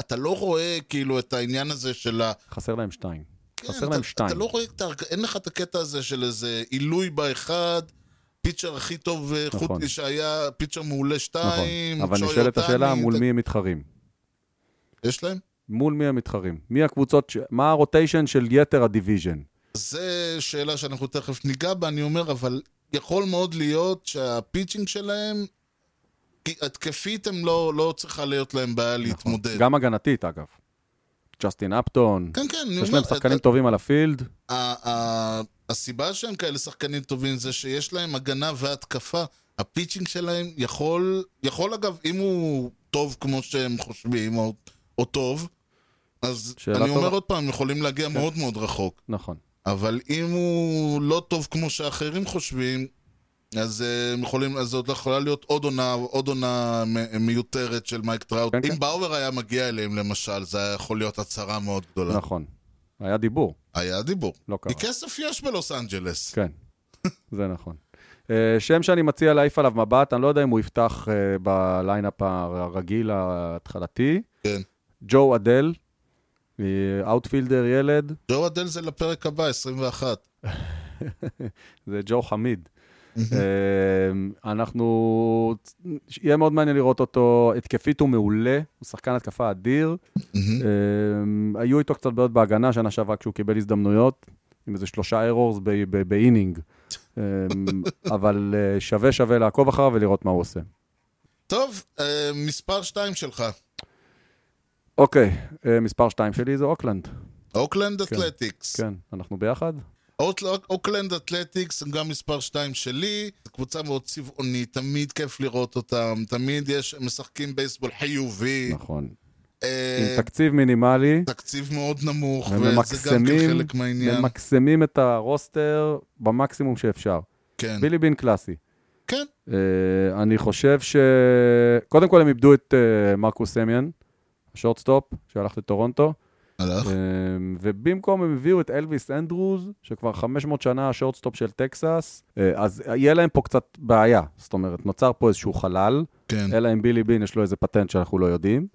C: אתה לא רואה כאילו את העניין הזה של ה...
A: חסר להם 2.
C: כן,
A: חסר
C: אתה,
A: להם 2.
C: אתה לא רואה, את ההרג- אין לך את הקטע הזה של איזה עילוי באחד, פיצ'ר הכי טוב אה,
A: נכון.
C: חוץ משהיה פיצ'ר מעולה שתיים,
A: אבל
C: צ'וי
A: נשאלת
C: אוטני,
A: השאלה מול
C: אתה-
A: מי הם מתחרים.
C: יש להם?
A: מול מי הם מתחרים? מי הקבוצות, ש... מה הרוטיישן של יתר הדיוויז'ן? נכון.
C: זה שאלה שאנחנו תכף ניגע בה, אני אומר, אבל יכול מאוד להיות שהפיצ'ינג שלהם, כי התקפית הם לא, לא צריכה להיות להם בעיה להתמודד.
A: נכון. גם הגנתית, אגב. ג'סטין אפטון,
C: כן, כן, אני
A: יש
C: אומר,
A: להם שחקנים
C: את-
A: טובים על הפילד.
C: ה- ה- הסיבה שהם כאלה שחקנים טובים זה שיש להם הגנה והתקפה. הפיצ'ינג שלהם יכול, יכול אגב, אם הוא טוב כמו שהם חושבים, או, או טוב, אז
A: שאלה
C: אני אומר
A: טובה. כן.
C: עוד פעם, הם יכולים להגיע מאוד מאוד רחוק.
A: נכון.
C: אבל אם הוא לא טוב כמו שאחרים חושבים, אז אה, הם יכולים, אז זאת יכולה להיות עוד עונה, עוד עונה מ- מיותרת של מייק טראוט.
A: כן,
C: אם
A: כן.
C: באואר היה מגיע אליהם למשל, זה היה יכול להיות הצהרה מאוד גדולה.
A: נכון. היה דיבור,
C: היה דיבור.
A: לא
C: כי
A: קרה.
C: כסף יש בלוס אנג'לס.
A: כן, זה נכון. אה, שם שאני מציע להעיף עליו מבט, אני לא יודע אם הוא יפתח אה, בליינאפ הרגיל ההתחלתי.
C: כן.
A: ג'ו אדל, אה, אאוטפילדר ילד,
C: ג'ו אדל זה לפרק הבא, 21.
A: זה ג'ו חמיד. אה, אנחנו, יהיה מאוד מעניין לראות אותו, התקפית הוא מעולה, הוא שחקן התקפה אדיר. אה, היו איתו קצת בעיות בהגנה שנה שעברה כשהוא קיבל הזדמנויות, עם איזה שלושה ארורס ב- ב- באינינג. אה, אבל אה, שווה שווה לעקוב אחריו ולראות מה הוא עושה.
C: טוב, אה, מספר 2 שלך.
A: אוקיי, אה, מספר 2 שלי זה אוקלנד.
C: אוקלנד
A: כן.
C: אתלטיקס.
A: כן, אנחנו ביחד?
C: אוט- אוקלנד אתלטיקס הם גם מספר 2 שלי, זו קבוצה מאוד צבעונית, תמיד כיף לראות אותם, תמיד יש, הם משחקים בייסבול חיובי,
A: נכון.
C: אה,
A: עם תקציב מינימלי,
C: תקציב מאוד נמוך, וזה גם כן
A: וממקסמים
C: חלק מהעניין.
A: ממקסמים את הרוסטר במקסימום שאפשר.
C: כן,
A: בילי בין קלאסי.
C: כן,
A: אה, אני חושב ש... קודם כל הם איבדו את אה, מרקוס סמיאן, השורטסטופ, שהלך לטורונטו,
C: הלך.
A: אה, ובמקום הם הביאו את אלוויס אנדרוז, שכבר 500 שנה השורטסטופ של טקסס, אה, אז יהיה להם פה קצת בעיה. זאת אומרת, נוצר פה איזשהו חלל,
C: כן,
A: אלא אם בילי בין יש לו איזה פטנט שאנחנו לא יודעים.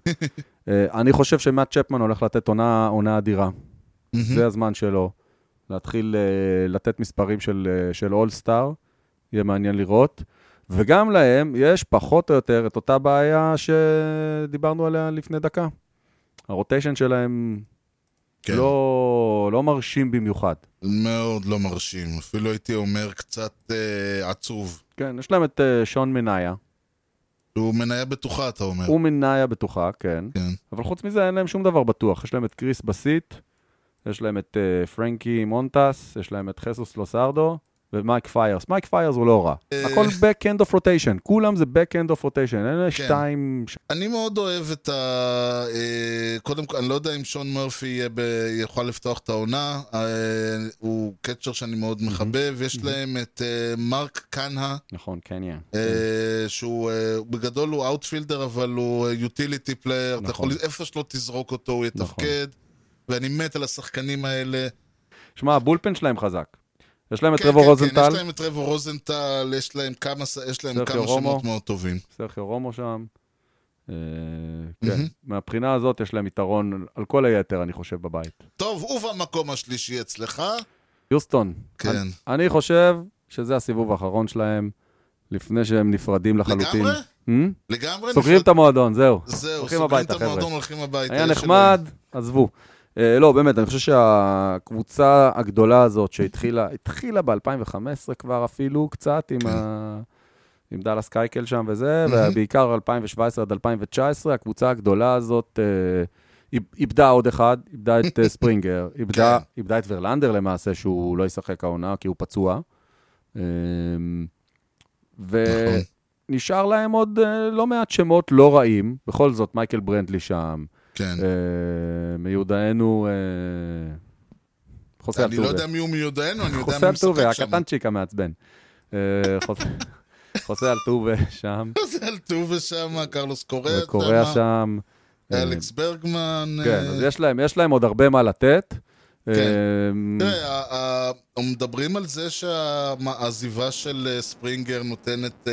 A: אה, אני חושב שמאט צ'פמן הולך לתת עונה, עונה אדירה. זה הזמן שלו. להתחיל אה, לתת מספרים של, אה, של אולסטאר, יהיה מעניין לראות. וגם להם יש פחות או יותר את אותה בעיה שדיברנו עליה לפני דקה. הרוטיישן שלהם
C: כן.
A: לא, לא מרשים במיוחד.
C: מאוד לא מרשים, אפילו הייתי אומר קצת אה, עצוב.
A: כן, יש להם את אה, שון מניה.
C: הוא מניה בטוחה, אתה אומר.
A: הוא מניה בטוחה, כן.
C: כן.
A: אבל חוץ מזה אין להם שום דבר בטוח. יש להם את קריס בסיט, יש להם את אה, פרנקי מונטס, יש להם את חסוס לוסרדו ומייק פיירס. מייק פיירס הוא לא רע.
C: אה.
A: הכל back-end of rotation, כולם זה back-end of rotation. אלה
C: כן.
A: שתיים... ש-
C: אני מאוד אוהב את ה... אה, קודם כל, אני לא יודע אם שון מרפי יהיה ב... יוכל לפתוח את העונה, אה, הוא קצ'ר שאני מאוד מחבב, יש להם את אה, מרק קנהה,
A: נכון, קניה. כן.
C: אה, שהוא אה, בגדול הוא אאוטפילדר, אבל הוא יוטיליטי פלייר, אתה יכול,
A: נכון.
C: איפה שלא תזרוק אותו הוא יתפקד, ואני מת על השחקנים האלה.
A: שמע, הבולפן שלהם חזק. יש להם את
C: כן,
A: רבו
C: כן, כן,
A: רוזנטל,
C: יש להם את רבו רוזנטל, יש להם כמה, ס- יש להם
A: סרחיו
C: כמה
A: רומו.
C: שמות מאוד טובים.
A: סרחיו רומו שם. אה, כן, מהבחינה הזאת יש להם יתרון על כל היתר, אני חושב, בבית.
C: טוב, ובמקום השלישי אצלך,
A: יוסטון,
C: כן.
A: אני- אני חושב שזה הסיבוב האחרון שלהם, לפני שהם נפרדים לחלוטין.
C: לגמרי?
A: Hmm?
C: לגמרי
A: סוגרים את המועדון, זהו.
C: זהו,
A: הולכים
C: סוגרים
A: הביתה,
C: את המועדון,
A: חבר'ה.
C: הולכים הביתה.
A: היה
C: יש
A: נחמד, עזבו. אה, לא, באמת, אני חושב שהקבוצה הגדולה הזאת שהתחילה, התחילה ב-2015 כבר אפילו קצת,
C: כן.
A: עם ה- עם דאלאס קייקל שם וזה, ובעיקר 2017 עד 2019, הקבוצה הגדולה הזאת אה, איב- איבדה עוד אחד, איבדה את אה, ספרינגר, איבדה-
C: כן.
A: איבדה את ורלנדר למעשה, שהוא לא ישחק העונה, כי הוא פצוע. אה,
C: נכון.
A: ונשאר להם עוד אה, לא מעט שמות לא רעים, בכל זאת, מייקל ברנדלי שם,
C: כן.
A: אה, מיודענו אה, חוסה
C: אני לא
A: אלטובה.
C: יודע מי הוא מיודענו, אני יודע מי
A: חוסה אלטובה,
C: משחק שם.
A: הקטנצ'יק המעצבן. אה, חוס- חוסה אלטובה שם,
C: חוסה אלטובה שם, קרלוס קוריאה
A: וקוריאה
C: שם,
A: שם. אה,
C: אלכס ברגמן.
A: כן,
C: לא אה,
A: אז יש להם- יש להם עוד הרבה מה לתת. אה,
C: תראה, ה- ה- הם מדברים על זה שהעזיבה של אה, ספרינגר נותנת אה,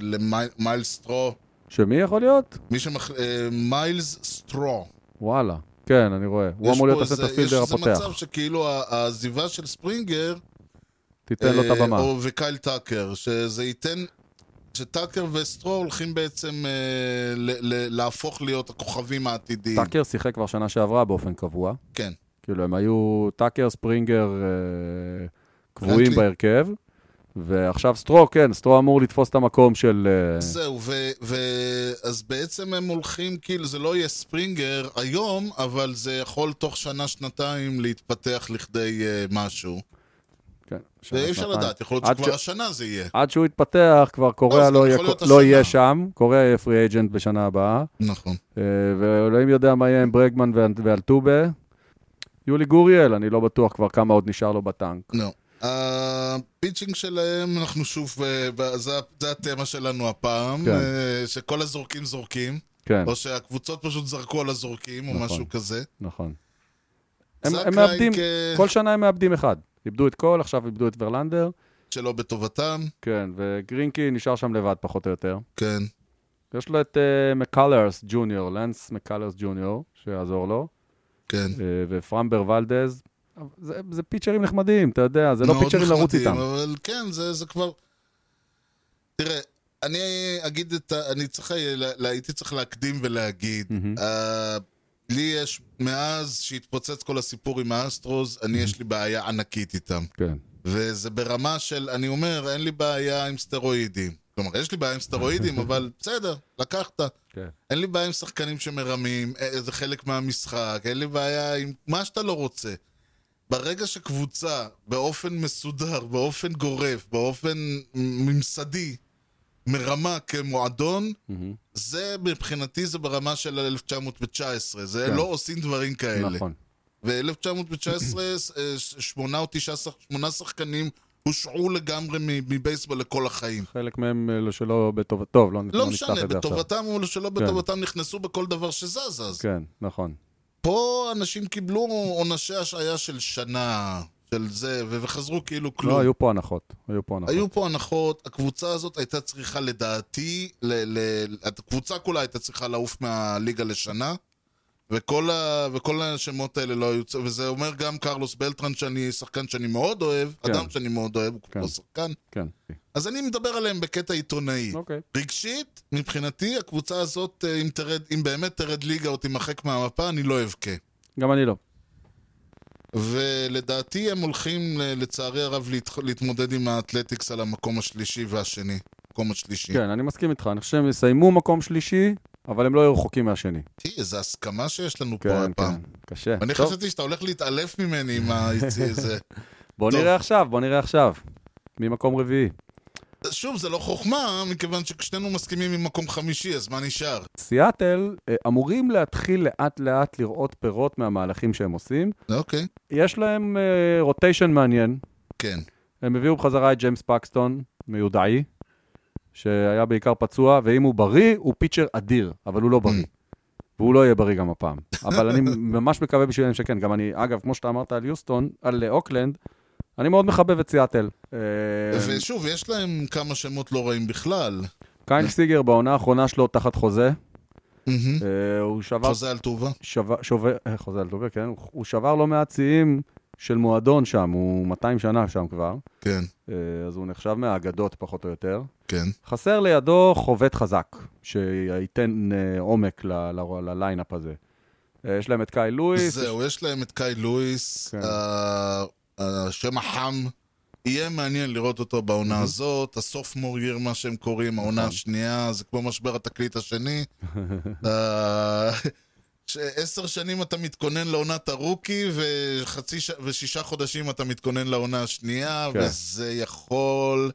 C: למי- מיילס סטרו,
A: שמי יכול להיות?
C: מי שמח... אה, מיילס סטרו.
A: וואלה. כן, אני רואה. הוא
C: יש
A: אמור להיות
C: פה איזה-
A: הסנטרפילדר
C: יש איזה מצב
A: הפותח.
C: שכאילו ה- העזיבה של ספרינגר
A: תיתן לו את
C: אה,
A: הבמה.
C: או- וקייל טאקר, שזה ייתן... שטאקר וסטרו הולכים בעצם אה, ל- ל- להפוך להיות הכוכבים העתידיים.
A: טאקר שיחק כבר שנה שעברה באופן קבוע.
C: כן.
A: כאילו, הם היו טאקר, ספרינגר, אה, קבועים
C: פרנקלין.
A: בהרכב. ועכשיו סטרו, כן, סטרו אמור לתפוס את המקום של... אה,
C: זהו, ו, ו... אז בעצם הם הולכים, כאילו, זה לא יהיה ספרינגר היום, אבל זה יכול תוך שנה-שנתיים להתפתח לכדי uh, משהו.
A: כן, שנה,
C: ואי אפשר
A: שנתיים.
C: לדעת, יכול להיות
A: עד
C: שכבר
A: ש-
C: השנה זה יהיה.
A: עד שהוא יתפתח, כבר
C: לא,
A: קוריאה
C: זה
A: לא,
C: גם
A: יהיה,
C: יכול להיות
A: לא
C: השנה.
A: יהיה שם, קוריאה יהיה פרי אייג'נט בשנה הבאה,
C: נכון.
A: אה, ואלוהים יודע מה יהיה עם ברגמן ואל- ואלטובה. יולי גוריאל, אני לא בטוח כבר כמה עוד נשאר לו בטנק.
C: לא. הפיצ'ינג שלהם, אנחנו שוב, אה, ב- זה ה- זה התמה שלנו הפעם,
A: כן.
C: אה, שכל הזורקים זורקים,
A: כן,
C: או שהקבוצות פשוט זרקו על הזורקים, או
A: נכון.
C: משהו כזה.
A: נכון. הם
C: זק
A: הם מאבדים,
C: לייק, אה,
A: כל שנה הם מאבדים אחד. איבדו את קול, עכשיו איבדו את ורלנדר.
C: שלא בטובתם,
A: כן, וגרינקי נשאר שם לבד, פחות או יותר.
C: כן.
A: יש לו את אה, מקלרס ג'וניור, לנס מקלרס ג'וניור, שיעזור לו,
C: כן.
A: אה, ופרמבר ולדז. זה, זה פיצ'רים נחמדים, אתה יודע, זה לא
C: מאוד
A: פיצ'רים לרוץ
C: נחמדים,
A: איתם.
C: אבל כן, זה, זה כבר... תראה, אני אגיד את ה... אני צריך... לה- לה- הייתי צריך להקדים ולהגיד.
A: מהמם.
C: אה, לי יש, מאז שהתפוצץ כל הסיפור עם האסטרוז, אני יש לי בעיה ענקית איתם.
A: כן,
C: וזה ברמה של, אני אומר, אין לי בעיה עם סטרואידים. כלומר, יש לי בעיה עם סטרואידים, אבל בסדר, לקחת.
A: כן.
C: אין לי בעיה עם שחקנים שמרמים, אה, זה חלק מהמשחק, אין לי בעיה עם מה שאתה לא רוצה. ברגע שקבוצה, באופן מסודר, באופן גורף, באופן ממסדי, מרמה כמועדון,
A: מהמם.
C: זה מבחינתי זה ברמה של 1919, זה
A: כן.
C: לא עושים דברים כאלה.
A: נכון.
C: ב-1919, אה, שמונה או תשעה, שח- שמונה שחקנים הושעו לגמרי מ- מבייסבול לכל החיים.
A: חלק מהם אה, שלא בטוב... טוב, לא,
C: לא
A: נפתח
C: משנה,
A: את זה עכשיו.
C: בטובתם או שלא בטובתם נכנסו בכל דבר שזז אז.
A: כן, נכון.
C: פה אנשים קיבלו עונשי השעיה של שנה, של זה, ו- וחזרו כאילו כלום.
A: לא, היו פה הנחות. היו פה הנחות.
C: היו פה הנחות, הקבוצה הזאת הייתה צריכה לדעתי, ל- ל- הקבוצה כולה הייתה צריכה לעוף מהליגה לשנה, וכל, ה- וכל השמות האלה לא היו, צ- וזה אומר גם קרלוס בלטרן, שאני שחקן שאני מאוד אוהב,
A: כן.
C: אדם שאני מאוד אוהב, הוא
A: כן.
C: כבר שחקן,
A: כן.
C: אז אני מדבר עליהם בקטע עיתונאי.
A: אוקיי.
C: רגשית, מבחינתי, הקבוצה הזאת, אה, אם, תרד, אם באמת תרד ליגה או תימחק מהמפה, אני לא אבכה.
A: גם אני לא.
C: ולדעתי הם הולכים, ל- לצערי הרב, להת... להתמודד עם האתלטיקס על המקום השלישי והשני. המקום השלישי.
A: כן, אני מסכים איתך. אני חושב שהם יסיימו מקום שלישי, אבל הם לא יהיו רחוקים מהשני.
C: תראי, איזו הסכמה שיש לנו פה
A: כן,
C: הפעם.
A: כן. קשה.
C: אני
A: טוב,
C: חשבתי שאתה הולך להתעלף ממני עם היציא הזה.
A: בוא
C: טוב.
A: נראה עכשיו, בוא נראה עכשיו. ממקום רביעי.
C: שוב, זה לא חוכמה, מכיוון ששנינו מסכימים עם מקום חמישי, אז מה נשאר?
A: סיאטל אה, אמורים להתחיל לאט-לאט לראות פירות מהמהלכים שהם עושים.
C: אוקיי,
A: יש להם רוטיישן מעניין.
C: כן.
A: הם הביאו בחזרה את ג'יימס פקסטון, מיודעי, שהיה בעיקר פצוע, ואם הוא בריא, הוא פיצ'ר אדיר, אבל הוא לא בריא. והוא לא יהיה בריא גם הפעם. אבל אני ממש מקווה בשבילם שכן. גם אני, אגב, כמו שאתה אמרת על יוסטון, על אה, אוקלנד, אני מאוד מחבב את סיאטל. אה,
C: ושוב, יש להם כמה שמות לא רעים בכלל.
A: קיינג סיגר בעונה האחרונה שלו תחת חוזה,
C: מהמם.
A: אה, הוא שבר
C: חוזה על טובה.
A: שבר, שובר, אה, חוזה לטובר, כן, הוא, הוא שבר לא מעט שיאים של מועדון שם, הוא 200 שנה שם כבר,
C: כן,
A: אה, אז הוא נחשב מהאגדות פחות או יותר.
C: כן.
A: חסר לידו חובט חזק, שייתן אה, עומק ל, ל, לליינאפ הזה. אה, יש להם את קאי לואיס,
C: זהו, יש להם את קאי לואיס,
A: כן.
C: ה- השם החם. יהיה מעניין לראות אותו בעונה הזאת, הסוף מורייר, מה שהם קוראים, העונה
A: נכון.
C: השנייה, זה כמו משבר התקליט השני. אה, שעשר שנים אתה מתכונן לעונת הרוקי, וחצי ש... ושישה חודשים אתה מתכונן לעונה השנייה,
A: כן.
C: וזה יכול...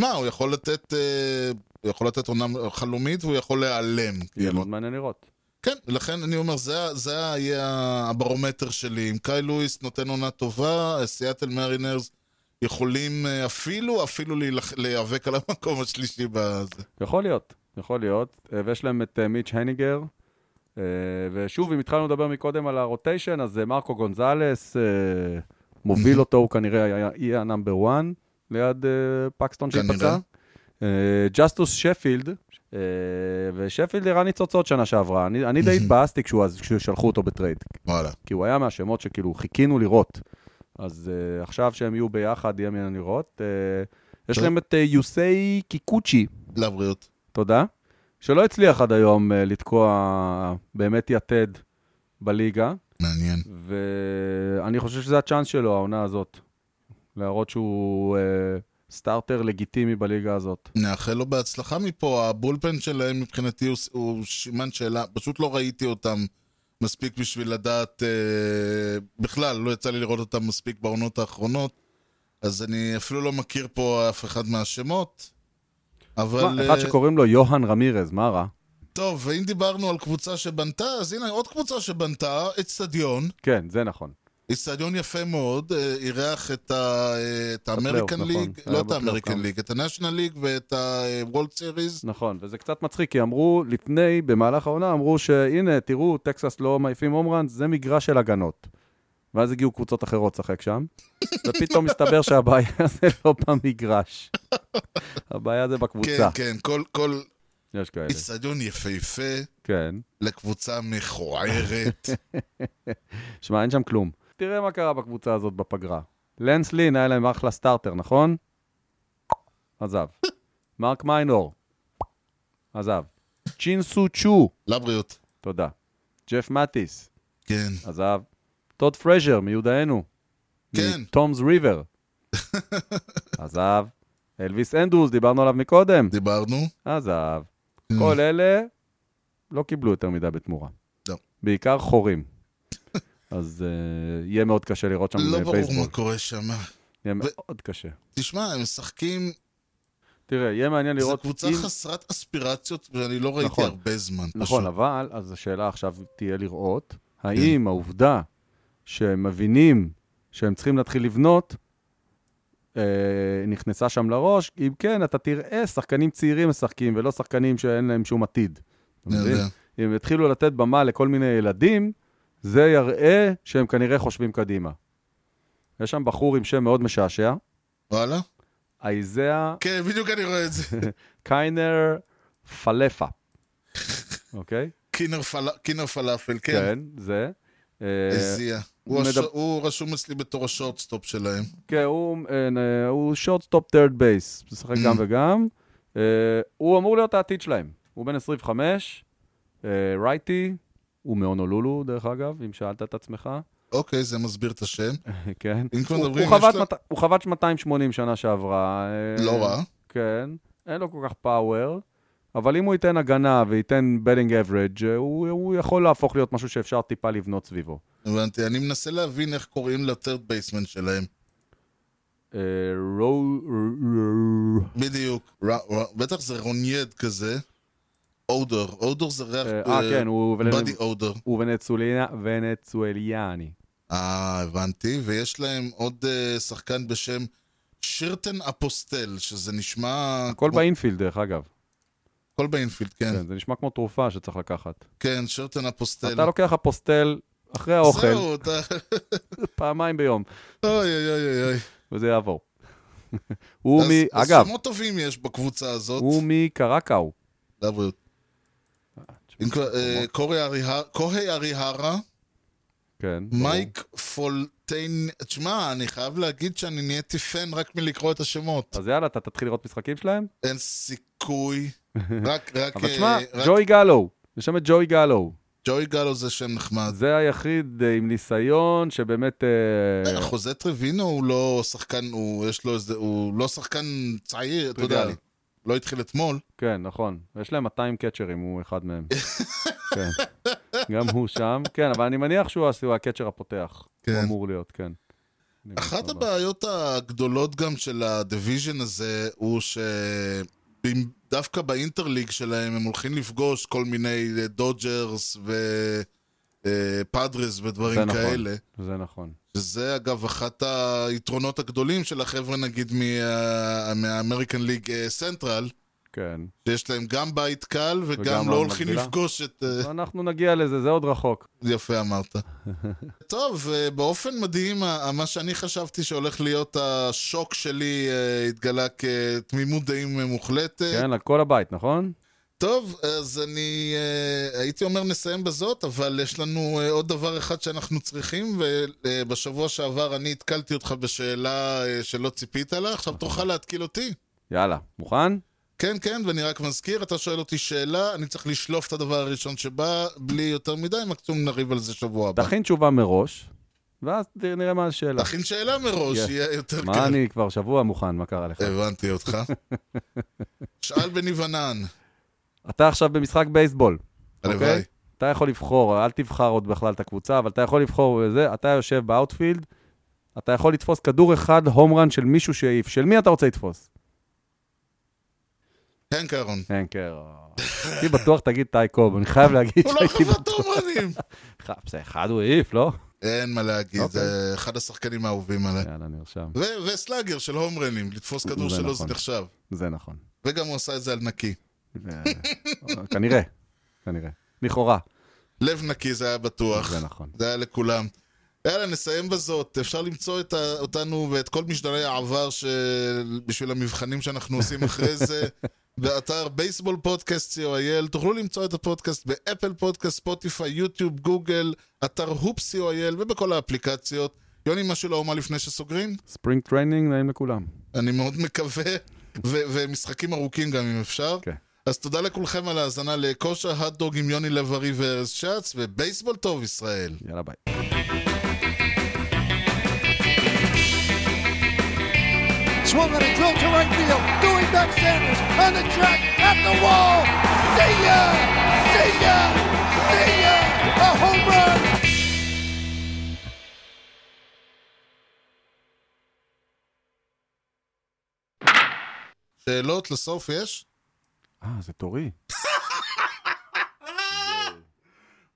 C: מה, הוא יכול לתת... אה, הוא יכול לתת עונה חלומית, והוא יכול להיעלם.
A: יהיה
C: כאילו.
A: מאוד מעניין לראות.
C: כן, לכן אני אומר, זה, ה- זה ה- יהיה הברומטר שלי. אם קאי לואיס נותן עונה טובה, סיאטל מרינרס יכולים אה, אפילו, אפילו להילח- להיאבק על המקום השלישי בזה.
A: יכול להיות, יכול להיות. אה, ויש להם את אה, מיץ' הניגר. אה, ושוב, אם התחלנו לדבר מקודם על הרוטיישן, אז אה, מרקו גונזלס אה, מוביל אותו, הוא כנראה היה- יהיה הנאמבר 1 ליד אה, פקסטון שהתפצע.
C: כנראה.
A: אה, ג'סטוס שפילד, אה, ושפילד הראה ניצוצות שנה שעברה. אני אני די התבאסתי כשהוא אז- כששלחו אותו בטרייד,
C: וואלה.
A: כי הוא היה מהשמות שכאילו חיכינו לראות. אז אה, עכשיו שהם יהיו ביחד, יהיה מעניין לראות. אה, יש
C: טוב.
A: להם את אה, יוסי קיקוצ'י.
C: לבריאות.
A: תודה. שלא הצליח עד היום אה, לתקוע באמת יתד בליגה,
C: מעניין.
A: ואני חושב שזה הצ'אנס שלו, העונה הזאת. להראות שהוא אה, סטארטר לגיטימי בליגה הזאת.
C: נאחל לו בהצלחה מפה, הבולפן שלהם מבחינתי הוא, ס- הוא סימן שאלה, פשוט לא ראיתי אותם מספיק בשביל לדעת, אה, בכלל, לא יצא לי לראות אותם מספיק בעונות האחרונות, אז אני אפילו לא מכיר פה אף אחד מהשמות, אבל...
A: מה, אחד
C: אה,
A: שקוראים לו יוהאן רמירז, מה רע?
C: טוב, ואם דיברנו על קבוצה שבנתה, אז הנה עוד קבוצה שבנתה, אצטדיון,
A: כן, זה נכון.
C: איצטדיון יפה מאוד, אה, אירח את ה- אה, את
A: הפלייאוף,
C: האמריקן
A: נכון.
C: ליג,
A: היה
C: לא את
A: בפלייאוף
C: האמריקן
A: גם.
C: ליג, את הנשיונל ליג ואת אה, הוולד סיריס.
A: נכון, וזה קצת מצחיק, כי אמרו לפני, במהלך העונה, אמרו שהנה, תראו, טקסס לא מעיפים הומרן, זה מגרש של הגנות. ואז הגיעו קבוצות אחרות לשחק שם, ופתאום מסתבר שהבעיה זה לא במגרש. הבעיה זה
C: כן,
A: בקבוצה.
C: כן, כל-
A: אוקיי.
C: כל
A: יש כאלה.
C: איצטדיון יפהפה
A: כן.
C: לקבוצה מכוערת.
A: שמע, אין שם כלום. תראה מה קרה בקבוצה הזאת בפגרה. לנס לין היה להם אחלה סטארטר, נכון? עזב. מרק מיינור, עזב. צ'ינסו צ'ו,
C: לבריאות.
A: תודה. ג'ף מטיס,
C: כן.
A: עזב. טוד פרז'ר, מיודענו.
C: כן.
A: מטומס ריבר. עזב. אלוויס אנדרוס, דיברנו עליו מקודם.
C: דיברנו?
A: עזב. כל אלה לא קיבלו יותר מדי בתמורה.
C: לא.
A: בעיקר חורים. אז אה, יהיה מאוד קשה לראות שם
C: לא
A: אה,
C: ברור
A: בייסבול.
C: מה קורה שם.
A: יהיה
C: ו-
A: מאוד קשה.
C: תשמע, הם משחקים,
A: תראה, יהיה מעניין
C: זו
A: לראות...
C: קבוצה
A: אם-
C: חסרת אספירציות, ואני לא ראיתי
A: נכון.
C: הרבה זמן.
A: נכון,
C: פשוט.
A: אבל, אז השאלה עכשיו תהיה לראות, האם העובדה שהם מבינים שהם צריכים להתחיל לבנות, אה, נכנסה שם לראש, אם כן, אתה תראה שחקנים צעירים משחקים, ולא שחקנים שאין להם שום עתיד. אתה
C: אני
A: מבין?
C: יודע.
A: אם יתחילו לתת במה לכל מיני ילדים, זה יראה שהם כנראה חושבים קדימה. יש שם בחור עם שם מאוד משעשע,
C: וואלה?
A: אייזאה
C: כן, בדיוק אני רואה את זה.
A: קיינר פלפה, אוקיי?
C: קינר פל- קינר פלאפל, כן.
A: כן, זה. אה,
C: הזיע. הוא הש-
A: מדבר-
C: הוא רשום אצלי בתור השורטסטופ שלהם.
A: כן, הוא, אה, הוא שורטסטופ טרד בייס, משחק גם וגם. אה, הוא אמור להיות העתיד שלהם. הוא בן 25, אה, רייטי, הוא מהונולולו, דרך אגב, אם שאלת את עצמך.
C: אוקיי, זה מסביר את השם.
A: כן.
C: אם כבר
A: הוא-
C: מדברים,
A: הוא
C: יש
A: חבט
C: לו-
A: מאתיים- הוא חבט 280 שנה שעברה. אה,
C: לא רע.
A: כן, אין לו כל כך פאוור, אבל אם הוא ייתן הגנה וייתן בטינג אברג', הוא הוא יכול להפוך להיות משהו שאפשר טיפה לבנות סביבו.
C: הבנתי. אני מנסה להבין איך קוראים לטרד בייסמן שלהם.
A: אה, רו- רו-
C: בדיוק. ר- ר- בטח זה רונייד כזה. אודור. אודור זה ריח...
A: אה, אה, כן, הוא
C: בדי אודור.
A: הוא ונצוליה- ונצואליאני.
C: אה, הבנתי. ויש להם עוד אה, שחקן בשם שירטן אפוסטל, שזה נשמע...
A: הכל
C: כמו-
A: באינפילד, דרך אגב.
C: הכל באינפילד, כן.
A: כן, זה נשמע כמו תרופה שצריך לקחת.
C: כן, שירטן אפוסטל.
A: אתה לא לוקח אפוסטל אחרי האוכל,
C: זהו, אתה...
A: פעמיים ביום,
C: אוי, אוי, אוי, אוי.
A: וזה יעבור. הוא מ...
C: אז-
A: אגב,
C: אז שמות טובים יש בקבוצה הזאת.
A: הוא מקרקאו.
C: לבריאות. אם כבר, אה, קורי אריהרה- קוהי אריהרה,
A: כן. ברור.
C: מייק פולטיין... תשמע, אני חייב להגיד שאני נהייתי פן רק מלקרוא את השמות.
A: אז יאללה, אתה תתחיל לראות משחקים שלהם?
C: אין סיכוי. רק, רק...
A: אבל
C: אה,
A: תשמע,
C: רק
A: ג'וי גלו, יש שם את ג'וי גלו.
C: ג'וי גלו זה שם נחמד.
A: זה היחיד אה, עם ניסיון שבאמת... אה,
C: אה, חוזה טרווינו הוא לא שחקן, הוא יש לו איזה, הוא לא שחקן צעיר, אתה יודע,
A: טריוויאלי.
C: לא התחיל אתמול.
A: כן, נכון. יש להם 200 קצ'רים, הוא אחד מהם. כן. גם הוא שם. כן, אבל אני מניח שהוא הס- הוא הקצ'ר הפותח.
C: כן.
A: הוא אמור להיות, כן. אני
C: אחת
A: מקווה.
C: הבעיות הגדולות גם של הדיוויז'ן הזה, הוא שדווקא באינטרליג שלהם הם הולכים לפגוש כל מיני אה, דודג'רס ופאדרס
A: זה
C: ודברים
A: נכון.
C: כאלה.
A: זה נכון.
C: שזה אגב אחת היתרונות הגדולים של החבר'ה נגיד מה- מהאמריקן ליג אה, סנטרל,
A: כן.
C: שיש להם גם בית קל
A: וגם
C: וגם לא הולכים
A: המקבילה.
C: לפגוש את... אה,
A: אנחנו נגיע לזה, זה עוד רחוק.
C: יפה אמרת. טוב, אה, באופן מדהים, אה, מה שאני חשבתי שהולך להיות השוק שלי אה, התגלה כתמימות דעים אה, מוחלטת.
A: כן, על כל הבית, נכון?
C: טוב, אז אני אה, הייתי אומר נסיים בזאת, אבל יש לנו אה, עוד דבר אחד שאנחנו צריכים, ובשבוע שעבר אני התקלתי אותך בשאלה אה, שלא ציפית לה, עכשיו תוכל להתקיל אותי.
A: יאללה, מוכן?
C: כן, כן, ואני רק מזכיר, אתה שואל אותי שאלה, אני צריך לשלוף את הדבר הראשון שבא, בלי יותר מדי, מקסימום נריב על זה שבוע הבא.
A: תכין תשובה מראש, ואז ת- נראה מה השאלה.
C: תכין שאלה מראש,
A: כן.
C: יהיה יותר
A: מה
C: קל.
A: אני כבר שבוע מוכן, מה קרה לך?
C: הבנתי אותך. שאל בני ונן,
A: אתה עכשיו במשחק בייסבול.
C: הלוואי.
A: אוקיי? אתה יכול לבחור, אל תבחר עוד בכלל את הקבוצה, אבל אתה יכול לבחור וזה, אתה יושב באאוטפילד, אתה יכול לתפוס כדור אחד, הום רן של מישהו שהעיף. של מי אתה רוצה לתפוס?
C: הנק אהרון.
A: הנקר. הייתי בטוח תגיד טייקוב, אני חייב להגיד
C: הוא לא
A: שהייתי
C: חבר
A: בטוח.
C: טורמנים.
A: זה אחד הוא העיף, לא?
C: אין מה להגיד,
A: אוקיי.
C: זה אחד השחקנים האהובים עליי.
A: יאללה, נרשם.
C: ו- וסלאגר של הומרנים, לתפוס כדור
A: זה
C: שלו זה
A: נכון.
C: נחשב.
A: זה נכון.
C: וגם הוא עשה את זה על נקי.
A: ו- כנראה, כנראה. לכאורה.
C: לב נקי זה היה בטוח.
A: זה נכון.
C: זה היה לכולם. יאללה, נסיים בזאת. אפשר למצוא את ה- אותנו ואת כל משדרי העבר של... בשביל המבחנים שאנחנו עושים אחרי זה. באתר בייסבול פודקאסט co.il, תוכלו למצוא את הפודקאסט באפל פודקאסט, ספוטיפיי, יוטיוב, גוגל, אתר הופ co.il ובכל האפליקציות. יוני, משהו לאומה לפני שסוגרים?
A: ספרינג טריינינג נעים לכולם.
C: אני מאוד מקווה, ו- ומשחקים ארוכים גם אם אפשר.
A: כן.
C: אז תודה לכולכם על ההאזנה לכושר הדדוג עם יוני לב-ארי וארז שץ, ובייסבול טוב ישראל.
A: יאללה, ביי.
F: Swung on a drill to right field. Doing back Sanders on the track at the wall. See ya! See ya! See ya! A home run!
C: שאלות לסוף יש?
A: אה, זה תורי.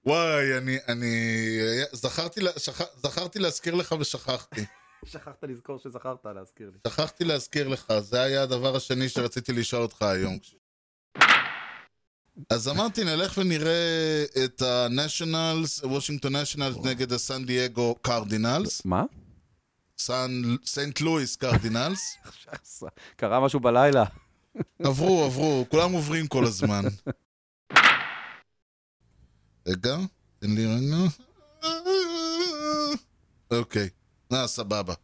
C: וואי, אני... אני... זכרתי, לה- שכ... זכרתי להזכיר לך ושכחתי.
A: שכחת לזכור שזכרת להזכיר לי.
C: שכחתי להזכיר לך, זה היה הדבר השני שרציתי לשאול אותך היום. אז אמרתי, נלך ונראה את ה-Nationals, וושינגטון נשיונלס נגד הסן דייגו קרדינלס,
A: מה?
C: סנט לואיס קרדינלס.
A: שחסה. קרה משהו בלילה.
C: אמ. עברו, עברו, כולם עוברים כל הזמן. רגע, תן לי רגע. אוקיי, אה, סבבה.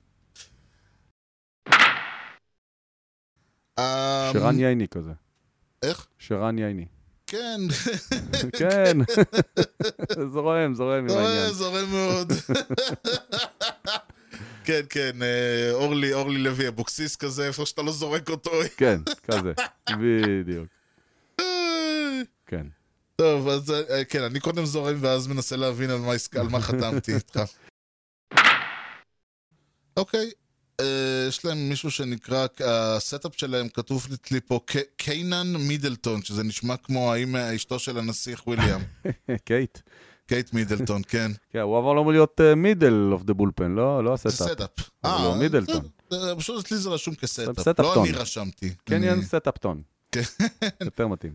C: אה,
A: שרן ייני כזה.
C: איך?
A: שרן ייני.
C: כן,
A: כן. זורם, זורם עם לא העניין.
C: זורם, זורם אה, מאוד. כן, כן, אה, אורלי, אורלי לוי אבוקסיס כזה, איפה שאתה לא זורק אותו.
A: כן, כזה. בדיוק. כן.
C: טוב, אז אה, כן, אני קודם זורם ואז מנסה להבין על מה, הסכ- על מה חתמתי איתך. אוקיי, אה, יש להם מישהו שנקרא, הסטאפ שלהם כתוב לי פה ק- קיינן מידלטון, שזה נשמע כמו האמא, אשתו של הנסיך וויליאם.
A: קייט.
C: קייט מידלטון, כן.
A: כן, הוא עבר לו להיות מידל אוף דה בולפן, לא לא
C: זה אה,
A: הסטאפ.
C: סטאפ.
A: אבל לא מידלטון.
C: זה- זה- פשוט אצלי זה רשום כסטאפ.
A: סטאפ
C: לא
A: טון.
C: אני רשמתי.
A: קניון
C: אני-
A: סטאפטון.
C: כן.
A: יותר מתאים.